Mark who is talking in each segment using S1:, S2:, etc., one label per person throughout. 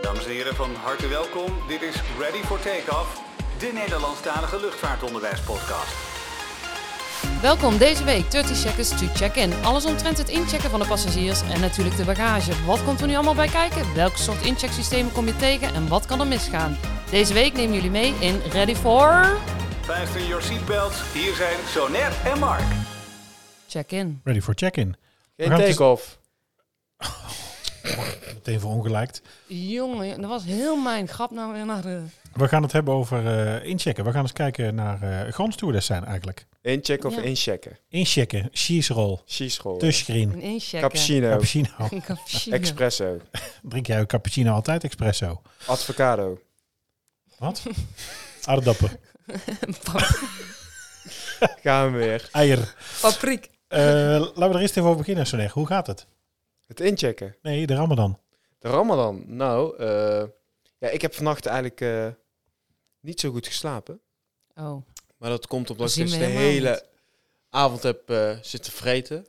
S1: dames en heren, van harte welkom. Dit is Ready for Takeoff, de Nederlandstalige luchtvaartonderwijspodcast.
S2: Welkom deze week 30 Seconds to Check-in. Alles omtrent het inchecken van de passagiers en natuurlijk de bagage. Wat komt er nu allemaal bij kijken? Welk soort inchecksystemen kom je tegen en wat kan er misgaan? Deze week nemen jullie mee in Ready for
S1: Fasten your seatbelts, hier zijn Sonet en Mark.
S2: Check-in.
S3: Ready for check-in. We
S4: Geen
S3: gaan dus-
S4: take-off.
S3: Meteen voor ongelijkt.
S2: Jongen, dat was heel mijn grap nou weer naar de...
S3: We gaan het hebben over eh, inchecken. We gaan eens kijken naar eh grondstoerders zijn eigenlijk.
S4: Inchecken of
S2: Ja.
S4: inchecken.
S3: Inchecken, cheese roll,
S4: Cheeschool.
S3: touchscreen,
S2: Een inchecken.
S4: Cappuccino.
S3: cappuccino.
S2: Een cappuccino.
S4: Espresso.
S3: Drink jij ook cappuccino altijd espresso?
S4: Avocado.
S3: Wat? Aardappel,
S2: Pap-
S4: Gaan we weer.
S3: eier.
S2: Papriek.
S3: Eh, laten we er eerst even over beginnen, Soneg. Hoe gaat het?
S4: Het inchecken.
S3: Nee, de ramadan.
S4: De Ramadan. Nou, eh, ja, ik heb vannacht eigenlijk eh, niet zo goed geslapen.
S2: Oh,
S5: Maar dat komt
S2: Dat
S5: omdat
S2: zien
S5: ik dus
S2: we
S5: de
S2: helemaal
S5: hele
S2: niet.
S5: avond heb eh, zitten vreten.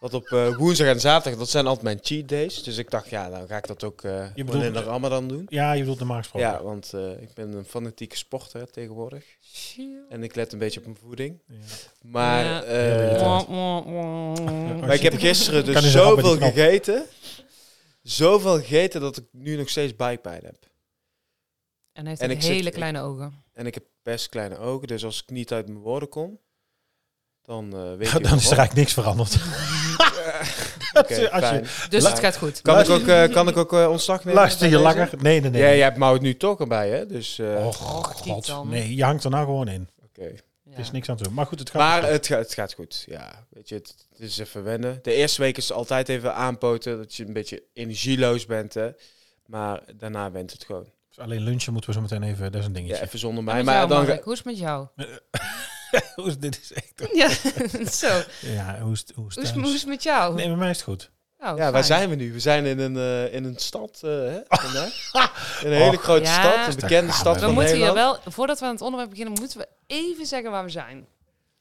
S5: Want op eh, woensdag en zaterdag, dat zijn altijd mijn cheat days. Dus ik dacht, ja, dan ga ik dat ook eh
S3: bedoelt-
S5: gewoon in de ramadan doen.
S3: Ja, je bedoelt de maaggesproken.
S5: Ja, want eh, ik ben een fanatieke sporter hè, tegenwoordig.
S2: chill.
S5: En ik let een beetje op mijn voeding.
S3: Ja.
S5: Maar,
S2: Ja.
S5: eh,
S3: Ja, dat-
S2: Mwah, mwah, mwah.
S3: Ja.
S5: maar ik heb gisteren
S3: Kan
S5: dus
S3: dus een hap met
S5: zoveel
S3: die knop.
S5: gegeten. Zoveel gegeten dat ik nu nog steeds bijpijn heb.
S2: En hij heeft
S5: En
S2: ook
S5: ik zit-
S2: hele
S5: ik-
S2: kleine ogen.
S5: En ik heb best kleine ogen, dus als ik niet uit mijn woorden kom, dan eh, weet je
S3: Dan is er
S5: wel.
S3: eigenlijk niks veranderd.
S5: Oké,
S3: als je-
S5: fijn.
S2: Dus
S5: La-
S2: het gaat goed.
S5: Kan ik
S3: Luister-
S5: ook, eh, kan ik ook eh, ontslag nemen?
S3: Luister je
S5: bij deze?
S3: langer? Nee, nee, nee.
S5: Ja, jij hebt Mout nu toch erbij, hè? Dus, eh,
S3: Oh,
S2: kiet
S3: god.
S2: dan.
S3: Nee, je hangt er nou gewoon in.
S5: oké.
S2: Ja.
S3: Er is niks aan te doen. Maar goed, het gaat
S5: Maar
S3: goed.
S5: het, ga- het gaat goed, ja. Weet je, het, het is even wennen. De eerste week is altijd even aanpoten, dat je een beetje energieloos bent, hè. Maar daarna went het gewoon.
S3: Dus alleen lunchen moeten we zo meteen even... Dat is een dingetje.
S5: Ja, even zonder
S2: En
S5: mij.
S2: met
S5: Maar ja,
S2: jou,
S5: dan...
S2: Mark, hoe is het met jou?
S3: Hoe is- dit is echt...
S2: Ja, zo.
S3: Ja, hoe is het, hoe is
S2: Hoe
S3: het
S2: is,
S3: thuis?
S2: hoe is het met jou?
S3: Nee, bij mij is het goed.
S2: Oh,
S5: Ja, waar
S2: fijn.
S5: zijn we nu? We zijn in een, eh, in een stad, eh, hè, vandaag. In een hele grote
S2: Ja.
S5: stad, een bekende
S3: We
S5: stad
S2: We
S5: van
S2: moeten hier
S5: Nederland.
S2: wel, voordat we aan het onderwerp beginnen, moeten we even zeggen waar we zijn.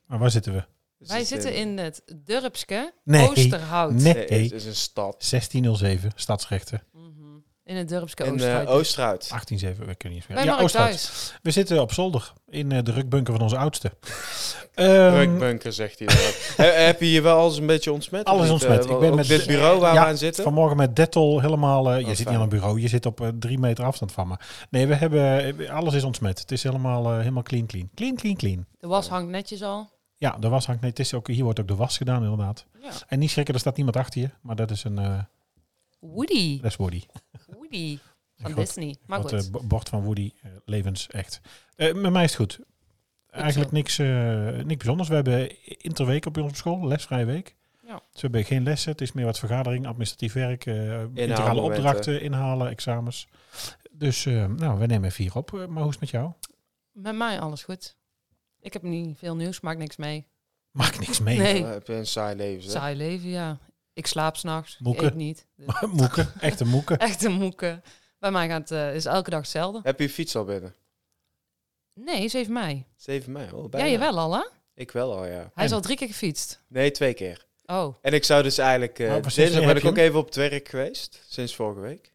S3: Maar waar zitten we?
S5: Dus
S2: Wij
S5: het is
S2: zitten in het Durpske,
S3: Nee,
S2: Oosterhout.
S3: nee.
S5: Nee, het is een stad.
S3: 1607, stadsrechten.
S2: Mhm. In het Durpske
S5: In
S2: Oosterhout.
S5: eh Oosterhout.
S3: 187, we kunnen niet
S2: Bij
S3: meer. Ja,
S2: Mark
S3: Oosthout.
S2: thuis.
S3: We zitten op zolder in eh, de rukbunker van onze oudste. Ehm,
S5: Drukbunker, zegt hij dan. He- heb je hier wel alles een beetje ontsmet?
S3: Alles
S5: of niet?
S3: ontsmet.
S5: Eh, wel-
S3: Ik ben
S5: ook
S3: met-
S5: dit bureau waar
S3: Ja,
S5: we aan zitten.
S3: vanmorgen met Dettol helemaal... eh, je
S5: Oh,
S3: zit niet
S5: fijn.
S3: aan een bureau, je zit op eh, drie meter afstand van me. Nee, we hebben... eh, Alles is ontsmet. Het is helemaal, eh, helemaal clean, clean. Clean, clean, clean.
S2: De was hangt netjes al.
S3: Ja, de was hangt... Nee, het is ook, hier wordt ook de was gedaan, inderdaad.
S2: Ja.
S3: En niet schrikken, er staat niemand achter je. Maar dat is een... eh
S2: Woody.
S3: dat is Woody.
S2: Woody. Van
S3: Een groot-
S2: Disney. Maar
S3: Want
S2: goed.
S3: het bord van Woody, eh, levens echt. Eh, met mij is het goed. Eigenlijk
S2: zo.
S3: niks, eh, niks bijzonders. We hebben interweek op onze school, lesvrije week.
S2: Ja.
S3: Dus we hebben geen lessen. Het is meer wat vergadering, administratief werk, eh, integrale
S5: momenten.
S3: opdrachten, inhalen, examens. Dus eh, nou, we nemen vier op. Eh, maar hoe is het met jou?
S2: Met mij alles goed. Ik heb niet veel nieuws, maak niks mee.
S3: Maakt niks mee.
S2: Nee.
S5: Dan Oh, heb je een saai leven. Zeg.
S2: Saai leven, ja. Ik slaap s'nachts. Ik
S3: Moeke.
S2: eet niet. Dus
S3: moeken, echte moeken.
S2: Echt een moeke. Bij mij gaat, eh, is elke dag hetzelfde.
S5: Heb je je fiets al binnen?
S2: Nee, 7 mei.
S5: 7 mei, hoor.
S2: Ja,
S5: Bijna.
S2: jawel al, hè?
S5: Ik wel al, ja.
S2: Hij is
S3: En?
S2: al drie keer gefietst.
S5: Nee, twee keer.
S2: Oh,
S5: En ik zou dus eigenlijk... eh
S3: Maar Nou, precies,
S5: dinsdag
S3: heb
S5: ben ik
S3: je
S5: ook even op het werk geweest. Sinds vorige week.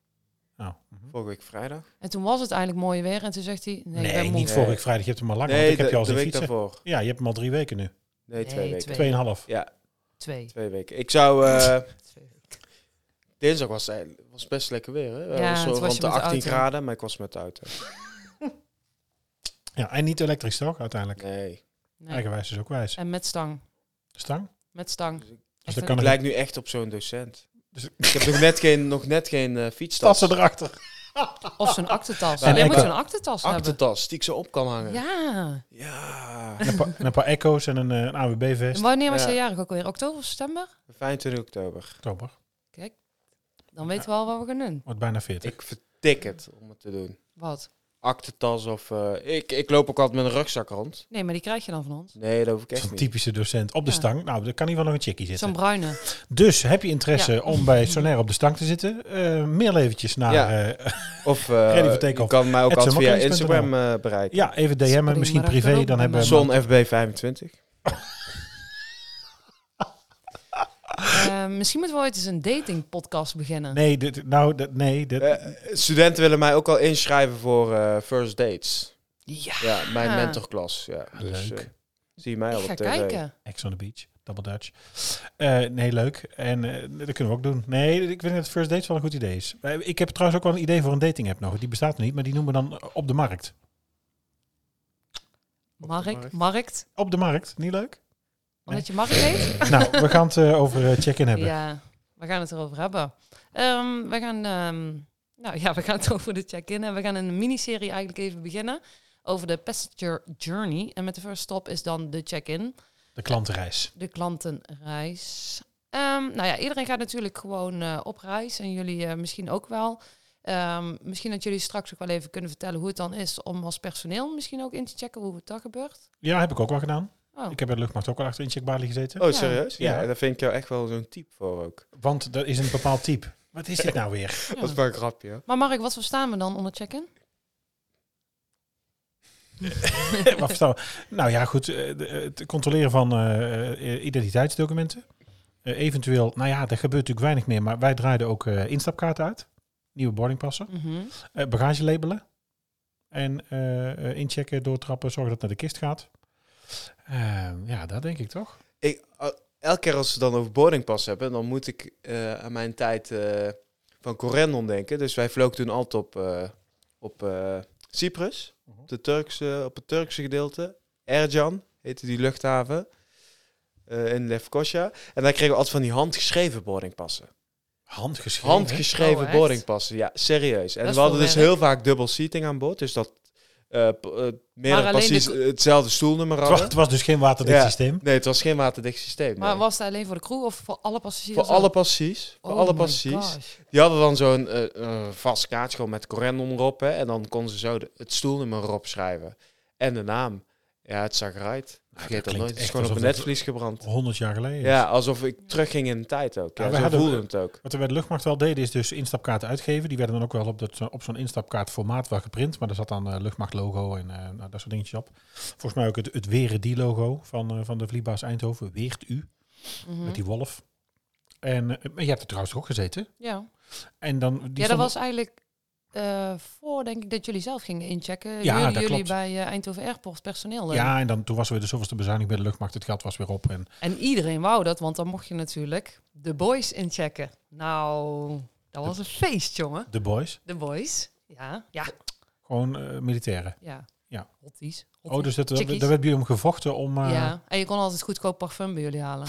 S3: Nou,
S5: Vorige week vrijdag.
S2: en toen was het eigenlijk mooi weer. En toen zegt hij, nee, ik
S3: nee,
S2: ben moe.
S3: niet vorige week vrijdag. Je hebt hem al lang, want
S5: nee,
S3: Ah, ik heb
S5: de,
S3: je al
S5: de
S3: zien
S5: week
S3: fietsen.
S5: daarvoor.
S3: Ja, je hebt hem al drie weken nu.
S5: Nee, twee
S2: Nee,
S5: weken.
S2: twee.
S3: Tweeënhalf.
S5: Ja,
S2: Twee.
S5: twee weken. Ik zou... eh, dinsdag was het was best lekker weer, hè.
S2: Ja,
S5: Ja, zo
S2: toen was je
S5: rond de
S2: met de
S5: 18
S2: auto.
S5: graden, maar ik was met de auto.
S3: Ja, en niet elektrisch toch, uiteindelijk.
S5: Nee.
S2: Nee.
S3: Eigenwijs is ook wijs.
S2: En met stang.
S3: Stang?
S2: Met stang.
S5: Dus ik-
S3: Dus
S2: Echt een-
S3: dat kan
S5: Ik
S3: er
S5: lijk nu echt op zo'n docent.
S3: Dus-
S5: ik heb nog net geen, nog net geen eh
S3: Stas
S5: fietstas.
S3: ze erachter.
S2: Of zo'n aktentas.
S3: En
S2: Jij moet
S3: echo.
S2: zo'n aktentas hebben.
S5: Achtertas, die ik zo op kan hangen. Ja.
S2: Ja.
S3: En een paar, en een paar echo's en een, eh, een
S2: En
S3: AWB-vest.
S2: wanneer was
S5: Ja.
S2: jij jarig ook alweer? Oktober of september?
S5: 25 oktober.
S3: Oktober.
S2: Dan weten we al wat we gaan doen.
S3: Wordt bijna 40.
S5: Ik vertik het om het te doen.
S2: Wat?
S5: Achtertas of... eh, ik, ik loop ook altijd met een rugzak rond.
S2: Nee, maar die krijg je dan van ons.
S5: Nee, dat hoef ik echt
S3: Zo'n
S5: niet.
S3: typische docent. Op de
S2: Ja.
S3: stang. Nou, daar kan hier wel nog een chickie zitten.
S2: Zo'n bruine.
S3: Dus heb je interesse
S2: Ja.
S3: om bij Sonair op de stang te zitten? Eh, mail eventjes naar...
S5: Ja.
S3: eh,
S5: Of
S3: Ready for
S5: eh
S3: take-off.
S5: je kan mij ook
S3: At
S5: altijd via
S3: zomercollege.nl.
S5: Instagram eh, bereiken.
S3: ja, even DM'en.
S2: Sorry,
S3: Misschien
S2: maar dat kan
S3: privé.
S2: ook
S3: Dan
S2: bij
S3: hebben we...
S2: mij.
S5: Zon FB 25.
S2: Eh, misschien moeten we ooit eens een datingpodcast beginnen.
S3: Nee, dit, nou, dat, nee. Dit,
S5: Eh, studenten willen mij ook al inschrijven voor eh, first dates.
S2: Ja,
S5: Ja, mijn
S2: Ah.
S5: mentorklas. Ja, dus,
S3: Leuk.
S5: eh, zie je mij al
S2: ik
S5: op
S2: ga
S5: tv.
S2: kijken.
S3: Ex on the Beach, Double Dutch. Eh, nee, leuk. En eh, dat kunnen we ook doen. Nee, ik vind dat First Dates wel een goed idee is. Eh, Ik heb trouwens ook wel een idee voor een dating app nog. Die bestaat nog niet, maar die noemen we dan op de markt.
S2: Mark,
S4: markt.
S2: markt.
S3: Op de markt, niet leuk?
S2: Omdat je markt heet?
S3: nou, we gaan het eh, over eh, check-in hebben.
S2: Ja, we gaan het erover hebben. Ehm, we gaan... ehm, nou ja, we gaan het over de check-in. En we gaan een miniserie eigenlijk even beginnen. Over de passenger journey. En met de first stop is dan de check-in.
S3: De klantenreis.
S2: de klantenreis. Ehm, nou ja, iedereen gaat natuurlijk gewoon eh, op reis en jullie eh, misschien ook wel. Ehm, misschien dat jullie straks ook wel even kunnen vertellen hoe het dan is om als personeel misschien ook in te checken hoe het dat gebeurt.
S3: Ja, heb ik ook wel gedaan.
S2: Oh.
S3: Ik heb bij de luchtmacht ook wel achter incheckbalie gezeten.
S5: Oh,
S2: Ja.
S5: serieus? Ja,
S3: Ja.
S5: daar vind ik jou echt wel zo'n type voor ook.
S3: Want er is een bepaald type. Wat is dit nou weer?
S2: Ja.
S5: Dat is maar een grapje. hoor.
S2: Maar Mark, wat verstaan we dan onder check-in?
S3: Wat verstaan we? nou ja, goed. eh, de- Het controleren van eh, eh, identiteitsdocumenten. Eh, eventueel, nou ja, er gebeurt natuurlijk weinig meer. Maar wij draaiden ook eh, instapkaarten uit. Nieuwe boardingpassen.
S2: Mhm.
S3: Eh, bagage labelen. En eh, eh, inchecken, doortrappen, zorgen dat het naar de kist gaat. Eh, ja, dat denk ik toch?
S5: Ik, al- elke keer als we dan over boardingpas hebben, dan moet ik eh, aan mijn tijd eh, van Corendon denken. Dus wij vlogen toen altijd op, eh, op eh, Cyprus,
S3: Mhm.
S5: op, de Turkse, op het Turkse gedeelte. Erjan heette die luchthaven eh, in Lefkosia. En daar kregen we altijd van die handgeschreven boardingpassen.
S3: Handgeschreven.
S5: Handgeschreven
S2: Oh, echt?
S5: boardingpassen, ja, serieus. En
S2: Dat is
S5: we hadden
S2: veel
S5: dus
S2: werk.
S5: heel vaak dubbel seating aan boord. Dus dat eh p- eh, meerdere
S2: alleen
S5: passies
S2: de-
S5: hetzelfde stoelnummer
S3: Het was,
S5: hadden.
S3: het was dus geen waterdicht
S5: Ja.
S3: systeem.
S5: Nee, het was geen waterdicht systeem. nee.
S2: Maar was het alleen voor de crew of voor alle
S5: voor
S2: passagiers?
S5: alle
S2: ook?
S5: passies, voor
S2: Oh
S5: alle
S2: my
S5: passies.
S2: gosh.
S5: Die hadden dan zo'n eh, eh, vast kaartje gewoon met correndon erop. Hè, en dan konden ze zo de- het stoelnummer erop schrijven. En de naam. Ja, het zag eruit. Vergeet dat,
S3: Ah, klinkt
S5: nooit. Het is
S3: echt
S5: gewoon op een
S3: alsof het-
S5: netvlies gebrand.
S3: 100 jaar geleden.
S5: Ja, alsof ik terugging in de tijd ook.
S3: Ja,
S5: Ja,
S3: wij
S5: zo
S3: Ah, hadden-
S5: voelde het ook.
S3: Wat we bij de luchtmacht wel deden is dus instapkaarten uitgeven. Die werden dan ook wel op, dat, op zo'n instapkaartformaat wel geprint. Maar daar zat dan eh luchtmachtlogo en eh, nou, dat soort dingetjes op. Volgens mij ook het, het Weren die logo van, eh, van de Vliegbaas Eindhoven. Weert u,
S2: Mhm.
S3: met die wolf. En eh, maar je hebt er trouwens ook gezeten.
S2: Ja.
S3: En dan, die
S2: ja, dat
S3: stonden-
S2: was eigenlijk eh, voor, denk ik, dat jullie zelf gingen inchecken.
S3: Ja,
S2: jullie,
S3: dat
S2: jullie
S3: klopt.
S2: bij eh, Eindhoven Airport personeel. eh.
S3: Ja, en dan, toen was er weer de zoveelste bezuiniging bij de luchtmacht. Het geld was weer op. En
S2: En iedereen wou dat, want dan mocht je natuurlijk de boys inchecken. Nou, dat was een feest, jongen.
S3: de boys,
S2: De boys. Ja, ja,
S3: gewoon eh, militairen.
S2: ja.
S3: Ja.
S2: Hotties.
S3: Oh, dus dat, daar
S2: Chickies.
S3: werd bij jullie om gevochten om... eh, ja.
S2: Ja, en je kon altijd goedkoop parfum bij jullie halen.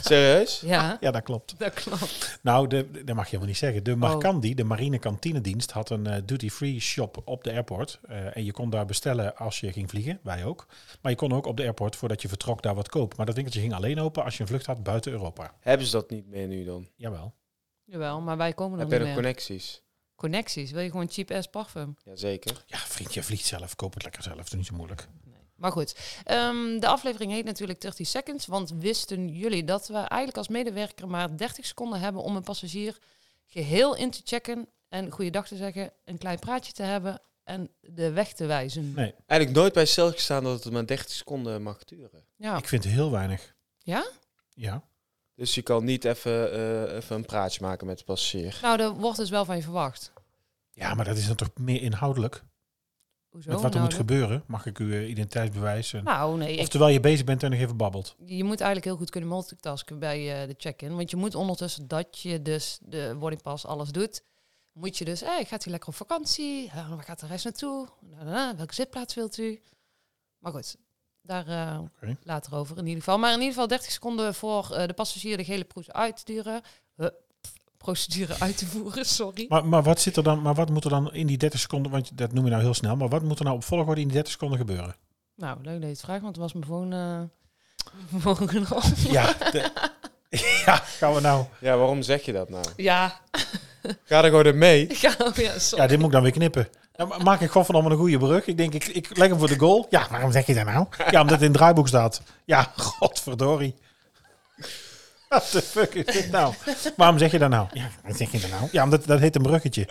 S5: Serieus?
S2: ja,
S3: dat klopt.
S2: dat klopt.
S3: Nou, de, dat mag je helemaal niet zeggen.
S2: Oh.
S3: De Marcandi, de marine kantinedienst, had een eh, duty-free shop op de airport. Eh, en je kon daar bestellen als je ging vliegen, wij ook. Maar je kon ook op de airport, voordat je vertrok, daar wat kopen. Maar dat winkeltje ging alleen open als je een vlucht had buiten Europa.
S5: Hebben ze dat niet meer nu dan?
S3: Jawel.
S2: Jawel, maar wij komen nog
S5: Heb je
S2: niet
S5: nog
S2: meer.
S5: connecties?
S2: Connecties. Wil je gewoon cheap-ass parfum?
S5: Jazeker.
S3: Ja, vriend, je vliegt zelf. Koop het lekker zelf. Doe niet zo moeilijk.
S2: Maar goed, ehm, de aflevering heet natuurlijk 30 Seconds. Want wisten jullie dat we eigenlijk als medewerker maar 30 seconden hebben om een passagier geheel in te checken en goeiedag te zeggen, een klein praatje te hebben en de weg te wijzen?
S3: Nee.
S5: Eigenlijk nooit bij stilgestaan dat het maar 30 seconden mag duren.
S2: Ja,
S3: Ik vind heel weinig.
S2: Oh. Ja?
S3: Ja.
S5: Dus je kan niet even, eh, even een praatje maken met de passagier.
S2: nou, daar wordt dus wel van je verwacht.
S3: Ja, maar dat is dan toch meer inhoudelijk?
S2: Hoezo?
S3: Met wat er
S2: nou,
S3: moet gebeuren? Mag ik uw eh, identiteitsbewijs? En...
S2: Nou, nee,
S3: of
S2: ik-
S3: terwijl je bezig bent en nog even babbelt.
S2: je moet eigenlijk heel goed kunnen multitasken bij eh, de check-in. Want je moet ondertussen dat je dus de boardingpas alles doet. Moet je dus, hey, gaat hij lekker op vakantie? Eh, waar gaat de reis naartoe? Na, na, na, welke zitplaats wilt u? Maar goed, daar eh,
S3: Oké.
S2: later over in ieder geval. Maar in ieder geval 30 seconden voor eh, de passagier de gele proes uit te duren. Eh, pff, procedure uit te voeren, sorry.
S3: Maar, maar, wat zit er dan, maar wat moet er dan in die 30 seconden, want dat noem je nou heel snel, maar wat moet er nou op volgorde in die 30 seconden gebeuren?
S2: nou, leuk dat je het vraagt, want het was mijn gewoon... eh volgende op.
S3: Ja, de- ja gaan we nou.
S5: Ja, waarom zeg je dat nou?
S2: Ja,
S5: Ga er gewoon in mee.
S2: ik ga... Ja, sorry.
S3: Ja, dit moet ik dan weer knippen. Nou, ma- maak ik gewoon van allemaal een goede brug. Ik denk, ik, ik leg hem voor de goal. Ja, waarom zeg je dat nou? Ja, omdat het in het draaiboek staat. Ja, godverdorie. What the fuck is dit nou? Waarom zeg je dat nou? Ja, waarom zeg je dat nou? Ja, omdat dat heet een bruggetje.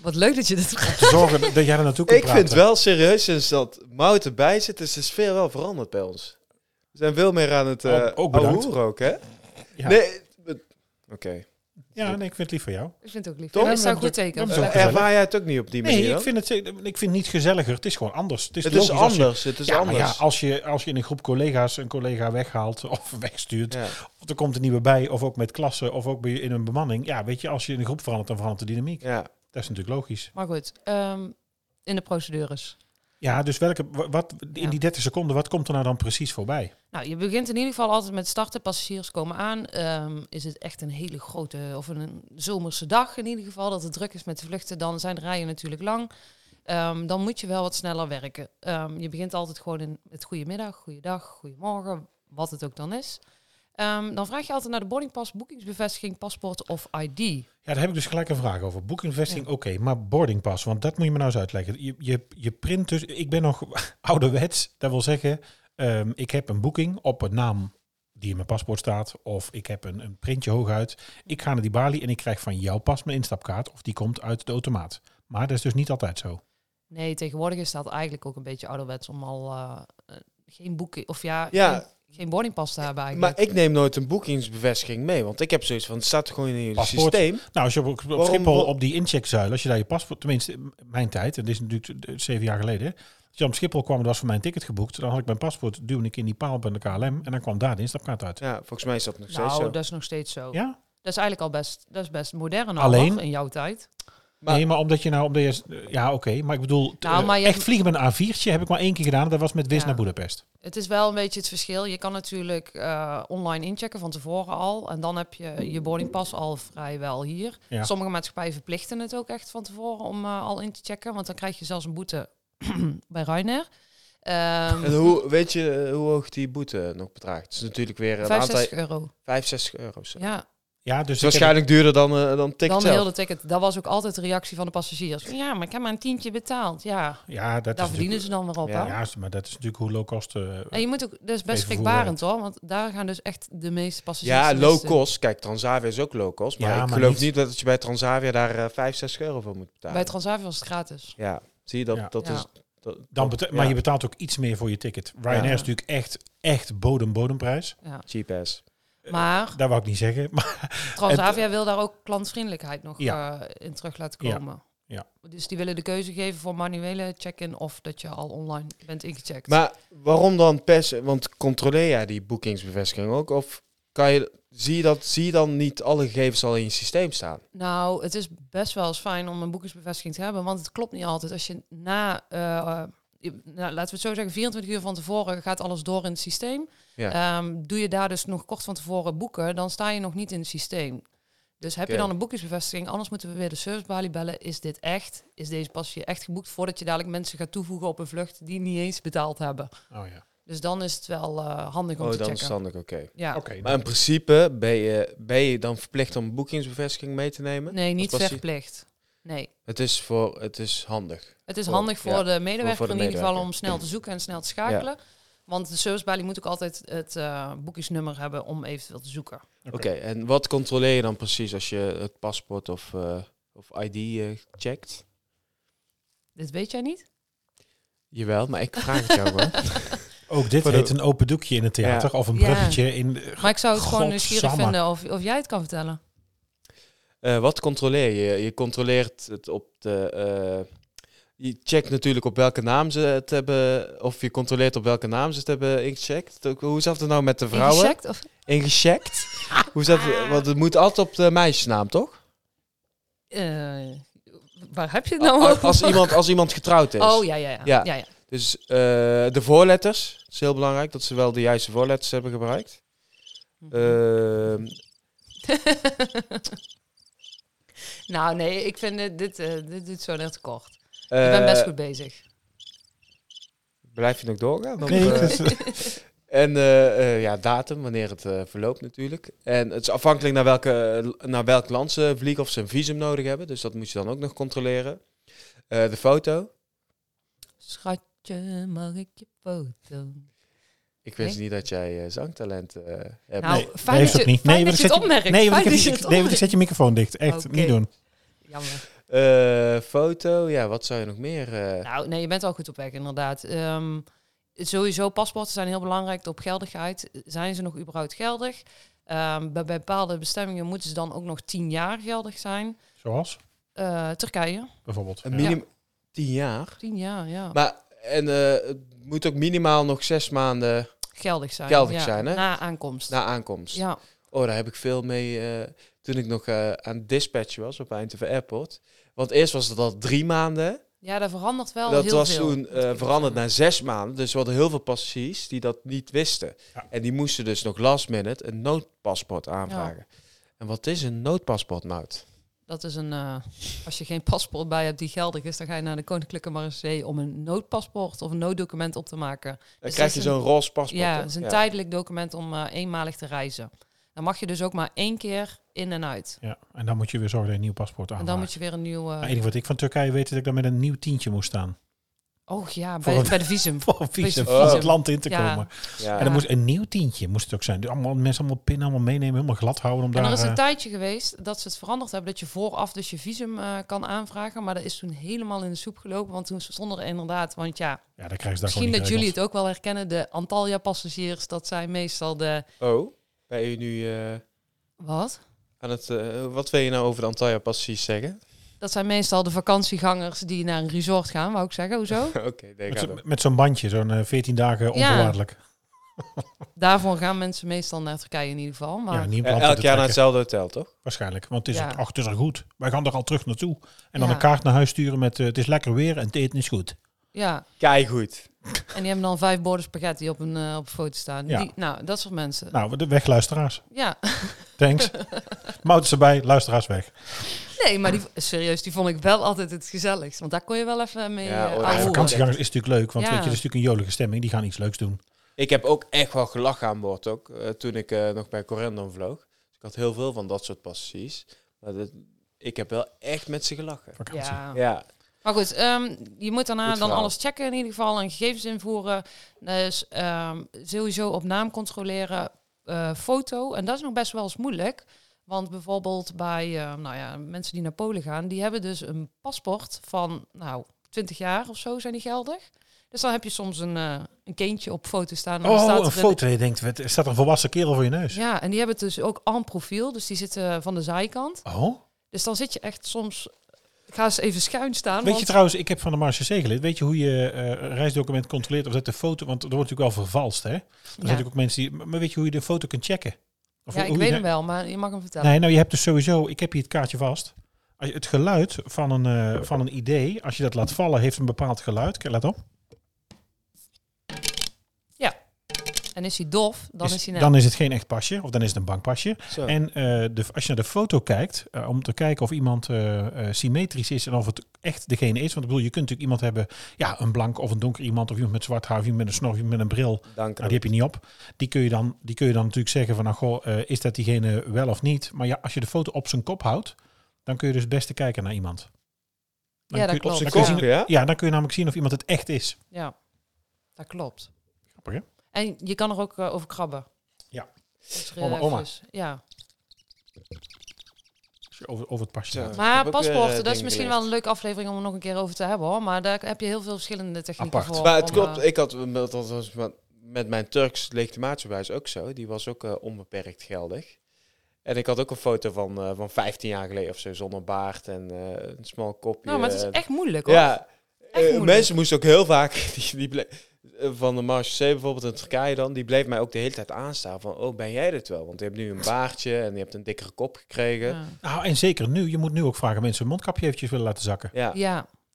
S2: Wat leuk dat je dit vraagt.
S3: Te zorgen dat jij er naartoe kunt
S5: Ik
S3: praten.
S5: vind wel serieus, sinds dat Mout erbij zit, is de sfeer wel veranderd bij ons. We zijn veel meer aan het
S3: Oh,
S5: eh
S3: ook bedankt.
S5: ouwehoeren ook, hè?
S3: Ja.
S5: Nee, het- oké.
S3: Ja, nee, ik vind het lief van jou.
S2: Ik vind het ook lief.
S3: Toch?
S2: Dat is zou
S3: Ja,
S2: goed
S3: dat-
S2: teken.
S3: dat is ook
S2: Ja.
S3: gezellig.
S5: Ervaar jij het ook niet op die manier?
S3: Nee, ik
S5: dan?
S3: vind het, ik vind het niet gezelliger. Het is gewoon anders. Het is,
S5: het is
S3: logisch als je-
S5: anders. Het is
S3: ja, maar
S5: anders.
S3: ja, als je, als je in een groep collega's een collega weghaalt of wegstuurt,
S5: Ja.
S3: of er komt een nieuwe bij, of ook met klassen, of ook bij, in een bemanning. Ja, weet je, als je in een groep verandert, dan verandert de dynamiek.
S5: Ja.
S3: Dat is natuurlijk logisch.
S2: Maar goed, ehm, in de procedures.
S3: Ja, dus welke, wa- wat, in
S2: Ja.
S3: die 30 seconden, wat komt er nou dan precies voorbij?
S2: Nou, je begint in ieder geval altijd met starten. Passagiers komen aan. Ehm, is het echt een hele grote of een zomerse dag in ieder geval dat het druk is met de vluchten, dan zijn de rijen natuurlijk lang. Ehm, dan moet je wel wat sneller werken. Ehm, je begint altijd gewoon in het goedemiddag, goeiedag, goedemorgen, wat het ook dan is. Ehm, dan vraag je altijd naar de boardingpas, boekingsbevestiging, paspoort of ID.
S3: Ja, daar heb ik dus gelijk een vraag over. Boekingvesting, oké, maar boardingpas, want dat moet je me nou eens uitleggen. Je, je, je print dus, ik ben nog ouderwets, dat wil zeggen, ehm, ik heb een boeking op een naam die in mijn paspoort staat, of ik heb een, een printje hooguit. Ik ga naar die balie en ik krijg van jouw pas mijn instapkaart, of die komt uit de automaat. Maar dat is dus niet altijd zo.
S2: Nee, tegenwoordig is dat eigenlijk ook een beetje ouderwets om al eh, eh, geen boeken of ja,
S5: Ja.
S2: Geen, geen boardingpas te hebben eigenlijk.
S5: Maar ik neem nooit een boekingsbevestiging mee, want ik heb zoiets van, het staat gewoon in jullie
S3: Paspoort.
S5: systeem.
S3: Nou, als je op, op
S5: Waarom-
S3: Schiphol
S5: wa-
S3: op die incheckzuil, als je daar je paspoort, tenminste m- mijn tijd, en dit is natuurlijk eh, zeven jaar geleden, als je op Schiphol kwam, dat was voor mijn ticket geboekt, dan had ik mijn paspoort, duwde ik in die paal bij de KLM en dan kwam daar de instapkaart uit.
S5: Ja, volgens mij is dat nog steeds
S2: nou,
S5: zo.
S2: dat is nog steeds zo.
S3: Ja?
S2: Dat is eigenlijk al best, dat is best modern al,
S3: Alleen-
S2: hoor, in jouw tijd.
S5: Maar-
S3: nee, maar omdat je nou, omdat je, eh, ja oké, maar ik bedoel, t-
S2: Nou,
S3: eh,
S2: maar je-
S3: echt vliegen met een A4'tje heb ik maar één keer gedaan, en dat was met Wis
S2: Ja.
S3: naar Budapest.
S2: Het is wel een beetje het verschil. Je kan natuurlijk eh, online inchecken van tevoren al. En dan heb je je boardingpas al vrijwel hier.
S3: Ja.
S2: Sommige maatschappijen verplichten het ook echt van tevoren om eh, al in te checken. Want dan krijg je zelfs een boete bij Ryanair. Ehm
S5: En hoe, weet je eh, hoe hoog die boete nog bedraagt? Het is natuurlijk weer een aantal...
S2: 65 euro.
S5: 65 euro's. Het
S2: Ja,
S3: Ja, dus
S5: is
S3: ik heb-
S5: waarschijnlijk duurder dan, eh, dan ticket
S2: dan
S5: zelf.
S2: heel de ticket. Dat was ook altijd de reactie van de passagiers. Ja, maar ik heb maar een tientje betaald. Ja,
S3: ja, dat
S2: daar
S3: is
S2: verdienen ze dan weer op.
S5: Ja.
S2: hè?
S3: natuurlijk- Ja, maar dat is natuurlijk hoe low cost. eh,
S2: En je moet ook, dat is best
S3: Even
S2: schrikbarend hoor, want daar gaan dus echt de meeste passagiers. eh,
S5: Ja,
S2: de
S5: low
S2: misten.
S5: cost. Kijk, Transavia is ook low cost. Maar
S3: Ja,
S5: ik
S3: maar
S5: geloof
S3: niet-
S5: niet... dat je bij Transavia daar eh 5, 6 euro voor moet betalen.
S2: Bij Transavia was het gratis.
S5: Ja, zie je dat?
S3: Ja.
S5: dat
S2: Ja.
S5: is, dat,
S3: dan
S5: dat-
S3: beta- maar
S5: ja,
S3: je betaalt ook iets meer voor je ticket. Ryanair
S2: Ja.
S3: is natuurlijk echt, echt bodem-bodemprijs.
S2: Ja.
S5: Cheap ass.
S2: Maar
S3: Dat wou ik niet zeggen, maar
S2: Transavia wil daar ook klantvriendelijkheid nog
S3: Ja.
S2: eh, in terug laten
S3: Ja.
S2: komen.
S3: Ja.
S2: Dus die willen de keuze geven voor manuele check-in of dat je al online bent ingecheckt.
S5: Maar waarom dan pers? Want controleer jij die boekingsbevestiging ook? Of kan je, zie, je dat, zie je dan niet alle gegevens al in je systeem staan?
S2: nou, het is best wel eens fijn om een boekingsbevestiging te hebben, want het klopt niet altijd. Als je na, eh, je- nou, laten we het zo zeggen, 24 uur van tevoren gaat alles door in het systeem.
S5: Ja.
S2: Ehm, doe je daar dus nog kort van tevoren boeken, dan sta je nog niet in het systeem. Dus heb je
S5: Oké.
S2: dan een boekingsbevestiging, anders moeten we weer de servicebalie bellen. Is dit echt? Is deze passagier echt geboekt voordat je dadelijk mensen gaat toevoegen op een vlucht die niet eens betaald hebben?
S3: Oh ja.
S2: Dus dan is het wel eh, handig om
S5: Oh,
S2: te
S5: dan
S2: checken.
S5: verstandig, oké.
S2: Ja.
S3: Oké,
S5: Maar in principe ben je, ben je dan verplicht om een boekingsbevestiging mee te nemen?
S2: Nee, niet
S5: Of was die-
S2: verplicht. Nee.
S5: Het is, voor, het is handig.
S2: Het is
S5: Voor-
S2: handig voor
S5: ja,
S2: de medewerker
S5: voor de
S2: in ieder geval
S5: medewerker.
S2: om snel te zoeken en snel te schakelen. Want de servicebalie moet ook altijd het eh, boekingsnummer hebben om eventueel te zoeken.
S5: Oké, en wat controleer je dan precies als je het paspoort of, eh, of ID eh, checkt?
S2: Dit weet jij niet?
S5: Jawel, maar ik vraag het jou gewoon.
S3: Ook dit
S5: Voor de-
S3: heet een open doekje in het theater of een
S2: Ja.
S3: bruggetje in.
S2: Maar ik zou het gewoon nieuwsgierig
S3: Godsamme.
S2: vinden of, of jij het kan vertellen.
S5: Eh, wat controleer je? Je controleert het op de. eh, je checkt natuurlijk op welke naam ze het hebben. Of je controleert op welke naam ze het hebben ingecheckt. Ook, Hoe zat het nou met de vrouwen?
S2: Ingecheckt Of?
S5: Ingecheckt? Hoe zat het? Want het moet altijd op de meisjesnaam, toch?
S2: Eh, waar heb je het nou over?
S5: Als, Oh, als iemand, als iemand getrouwd is.
S2: Oh ja, ja, ja. ja.
S5: Ja.
S2: ja,
S5: Dus eh, de voorletters. Het is heel belangrijk dat ze wel de juiste voorletters hebben gebruikt. Ehm,
S2: nou nee, ik vind dit, dit, eh, dit doet zo net tekort. Ik ben best
S5: eh,
S2: goed bezig.
S5: Blijf je nog doorgaan? Of,
S3: Nee,
S5: eh,
S3: dat is-
S5: En eh, eh, ja, datum, wanneer het eh, verloopt natuurlijk. En het is afhankelijk naar, welke, eh, naar welk land ze vliegen of ze een visum nodig hebben. Dus dat moet je dan ook nog controleren. Eh, de foto.
S2: Schatje, mag ik je foto?
S5: Ik wist
S2: Nee.
S5: niet dat jij eh, zangtalent eh, hebt.
S2: Nou,
S3: Nee,
S2: fijn
S3: heeft
S2: dat
S3: ook
S2: je-
S3: niet.
S2: fijn dat
S3: Nee, want
S2: je
S3: ik
S2: het
S3: zet-
S2: opmerkt.
S3: Nee, want
S2: Fijn
S3: ik,
S2: dat je
S3: zet-
S2: het
S3: nee, want ik
S2: opmerkt.
S3: zet je microfoon dicht. Echt,
S2: Oké.
S3: niet doen.
S2: Jammer.
S5: Eh, foto, ja, wat zou je nog meer? eh,
S2: Nou, nee, je bent al goed op weg, inderdaad. Ehm, sowieso, paspoorten zijn heel belangrijk op geldigheid. Zijn ze nog überhaupt geldig? Ehm, bij bepaalde bestemmingen moeten ze dan ook nog tien jaar geldig zijn.
S3: Zoals?
S2: Eh, Turkije,
S3: Bijvoorbeeld.
S5: Een
S3: Ja.
S5: minim 10 jaar.
S2: tien jaar, ja.
S5: Maar en, eh, het moet ook minimaal nog zes maanden
S2: geldig zijn. Nou, dus-
S5: geldig
S2: ja,
S5: zijn, hè?
S2: Na aankomst.
S5: na aankomst.
S2: Ja,
S5: Oh, daar heb ik veel mee eh, toen ik nog eh, aan dispatch was op Eindhoven Airport. Want eerst was het al drie maanden.
S2: ja, dat verandert wel
S5: dat
S2: heel
S5: was
S2: veel.
S5: toen eh, veranderd naar zes maanden. Dus we hadden heel veel passagiers die dat niet wisten.
S3: Ja.
S5: En die moesten dus nog last minute een noodpaspoort aanvragen. En wat is een noodpaspoort, Nout?
S2: Dat is een, eh, als je geen paspoort bij hebt die geldig is, dan ga je naar de Koninklijke Marseille om een noodpaspoort of een nooddocument op te maken.
S5: Dan
S2: Dus
S5: krijg je
S2: dat is
S5: zo'n roze paspoort.
S2: Ja,
S5: hè?
S2: het is een tijdelijk document om eh, eenmalig te reizen. Dan mag je dus ook maar één keer in en uit.
S3: Ja. En dan moet je weer zorgen dat je een nieuw paspoort
S2: En
S3: aanmaakt.
S2: dan moet je weer een nieuw... eh,
S3: Het enige wat ik van Turkije weet is dat ik dan met een nieuw tientje moest staan.
S2: oh ja,
S3: Voor
S2: bij,
S3: een-
S2: bij de visum.
S3: Voor een visum
S2: Visum.
S5: Oh.
S3: van het land in te
S2: Ja.
S3: komen.
S5: Ja.
S3: En dan moest een nieuw tientje moest het ook zijn. Dus Allemaal, mensen allemaal pinnen, allemaal meenemen, helemaal glad houden. Om
S2: En
S3: daar,
S2: er is
S3: eh,
S2: een tijdje geweest dat ze het veranderd hebben, dat je vooraf dus je visum eh, kan aanvragen. Maar dat is toen helemaal in de soep gelopen, want toen stonden er inderdaad, want ja,
S3: ja, dan krijgen ze daar gewoon
S2: misschien
S3: niet eh,
S2: dat jullie
S3: geregeld.
S2: het ook wel herkennen, de Antalya-passagiers, dat zijn meestal de...
S5: Oh, ben je nu eh,
S2: Wat?
S5: aan het... eh, wat wil je nou over de Antalya precies zeggen?
S2: Dat zijn meestal de vakantiegangers die naar een resort gaan, wou ik zeggen. Hoezo?
S5: Oké, nee,
S3: Met
S5: ga
S3: zo'n-
S5: door.
S3: Met zo'n bandje, zo'n eh, 14 dagen onvoorwaardelijk.
S2: Daarvoor gaan mensen meestal naar Turkije in ieder geval. Maar
S3: Ja, niet op
S5: Eh,
S3: land
S5: Elk
S3: te
S5: jaar
S3: trekken,
S5: naar hetzelfde hotel, toch?
S3: Waarschijnlijk. Want het is,
S2: Ja.
S3: ook, ach, het is er goed. Wij gaan er al terug naartoe. En dan
S2: Ja.
S3: een kaart naar huis sturen met eh, het is lekker weer en het eten is goed.
S2: ja,
S5: Kijk goed.
S2: en die hebben dan vijf borden spaghetti op een, eh, op een foto staan.
S3: Ja.
S2: Die, nou, dat soort mensen.
S3: Nou, de wegluisteraars.
S2: Ja,
S3: Thanks. Mout is erbij, luisteraars weg.
S2: nee, maar die, serieus, die vond ik wel altijd het gezelligst. Want daar kon je wel even mee eh,
S5: Ja,
S2: ja,
S5: oh,
S3: Ja,
S5: ouwe.
S3: vakantiegangers is natuurlijk leuk, want
S2: Ja.
S3: weet je, dat is natuurlijk een jolige stemming. Die gaan iets leuks doen.
S5: Ik heb ook echt wel gelachen aan boord ook, eh, toen ik eh, nog bij Corendon vloog. Dus ik had heel veel van dat soort passagiers. Maar dat- ik heb wel echt met ze gelachen.
S3: Vakantie.
S2: Ja.
S5: Ja,
S2: Maar goed, ehm, je moet daarna
S5: Goed
S2: dan
S5: verhaal.
S2: alles checken in ieder geval en gegevens invoeren. Dus ehm, sowieso op naam controleren, eh, foto. En dat is nog best wel eens moeilijk. Want bijvoorbeeld bij eh, nou ja, mensen die naar Polen gaan, die hebben dus een paspoort van nou, 20 jaar of zo zijn die geldig. Dus dan heb je soms een, eh, een kindje op foto staan. En dan
S3: Oh,
S2: staat
S3: een
S2: erin-
S3: foto. Je denkt, wat- er staat een volwassen kerel voor je neus.
S2: Ja, en die hebben het dus ook en profiel. Dus die zitten van de zijkant.
S3: Oh.
S2: Dus dan zit je echt soms... Ik ga eens even schuin staan.
S3: Weet
S2: want-
S3: je trouwens, ik heb van de Marche geleerd. Weet je hoe je eh, een reisdocument controleert of dat de foto... Want er wordt natuurlijk wel vervalst, hè? Er zijn natuurlijk ook mensen die... Maar weet je hoe je de foto kunt checken? Of
S2: ja,
S3: hoe
S2: ik
S3: je
S2: weet
S3: de-
S2: hem wel, maar je mag hem vertellen.
S3: Nee, nou je hebt dus sowieso, ik heb hier het kaartje vast. Als je, het geluid van een, eh, van een idee, als je dat laat vallen, heeft een bepaald geluid. Kijk, let op.
S2: En is hij dof, dan is, hij net.
S3: dan is het geen echt pasje, of dan is het een bankpasje.
S5: zo.
S3: En eh, de, als je naar de foto kijkt, eh, om te kijken of iemand eh, eh, symmetrisch is en of het echt degene is. Want ik bedoel, je kunt natuurlijk iemand hebben, ja, een blank of een donker iemand, of iemand met zwart haar, of iemand met een snor, of iemand met een bril.
S5: Dank
S2: Ah,
S3: Nou, die heb je niet op. Die kun je dan, die kun je dan natuurlijk zeggen van, nou goh, eh, is dat diegene wel of niet? Maar ja, als je de foto op zijn kop houdt, dan kun je dus het beste kijken naar iemand. Dan
S2: Ja,
S3: kun
S2: dat
S3: je op
S2: klopt.
S3: zijn
S2: Dan
S3: kop
S2: kun
S3: zien-
S2: je-
S5: ja?
S3: Ja, dan kun je namelijk zien of iemand het echt is.
S2: Ja, dat klopt.
S3: Grappig, hè?
S2: En je kan er ook eh, over krabben.
S3: Ja.
S2: Dat is
S3: Oma,
S2: relatief.
S3: oma.
S2: Ja.
S3: Als je over, over het pasje
S5: Zo.
S3: gaat.
S5: Ik heb
S2: Maar
S5: ook, eh,
S2: paspoorten, dat is
S5: dingen
S2: misschien
S5: geleerd.
S2: wel een leuke aflevering om er nog een keer over te hebben hoor. Maar daar heb je heel veel verschillende technieken
S3: Apart.
S2: voor.
S5: Maar het
S2: om,
S5: klopt,
S2: eh,
S5: ik had dat was met- met mijn Turks legitimatiebewijs ook zo. Die was ook eh, onbeperkt geldig. En ik had ook een foto van, eh, van 15 jaar geleden of zo, zonder baard en eh, een smal kopje.
S2: nou, maar het is
S5: eh,
S2: echt moeilijk hoor.
S5: Ja, eh,
S2: moeilijk.
S5: mensen moesten ook heel vaak, die, die ble- eh, van de Marche C bijvoorbeeld in Turkije dan, die bleef mij ook de hele tijd aanstaan van, oh, ben jij dit wel? Want je hebt nu een baardje en je hebt een dikkere kop gekregen. Ja,
S2: Ja.
S3: Nou, en zeker nu. Je moet nu ook vragen mensen hun mondkapje eventjes willen laten zakken.
S2: ja,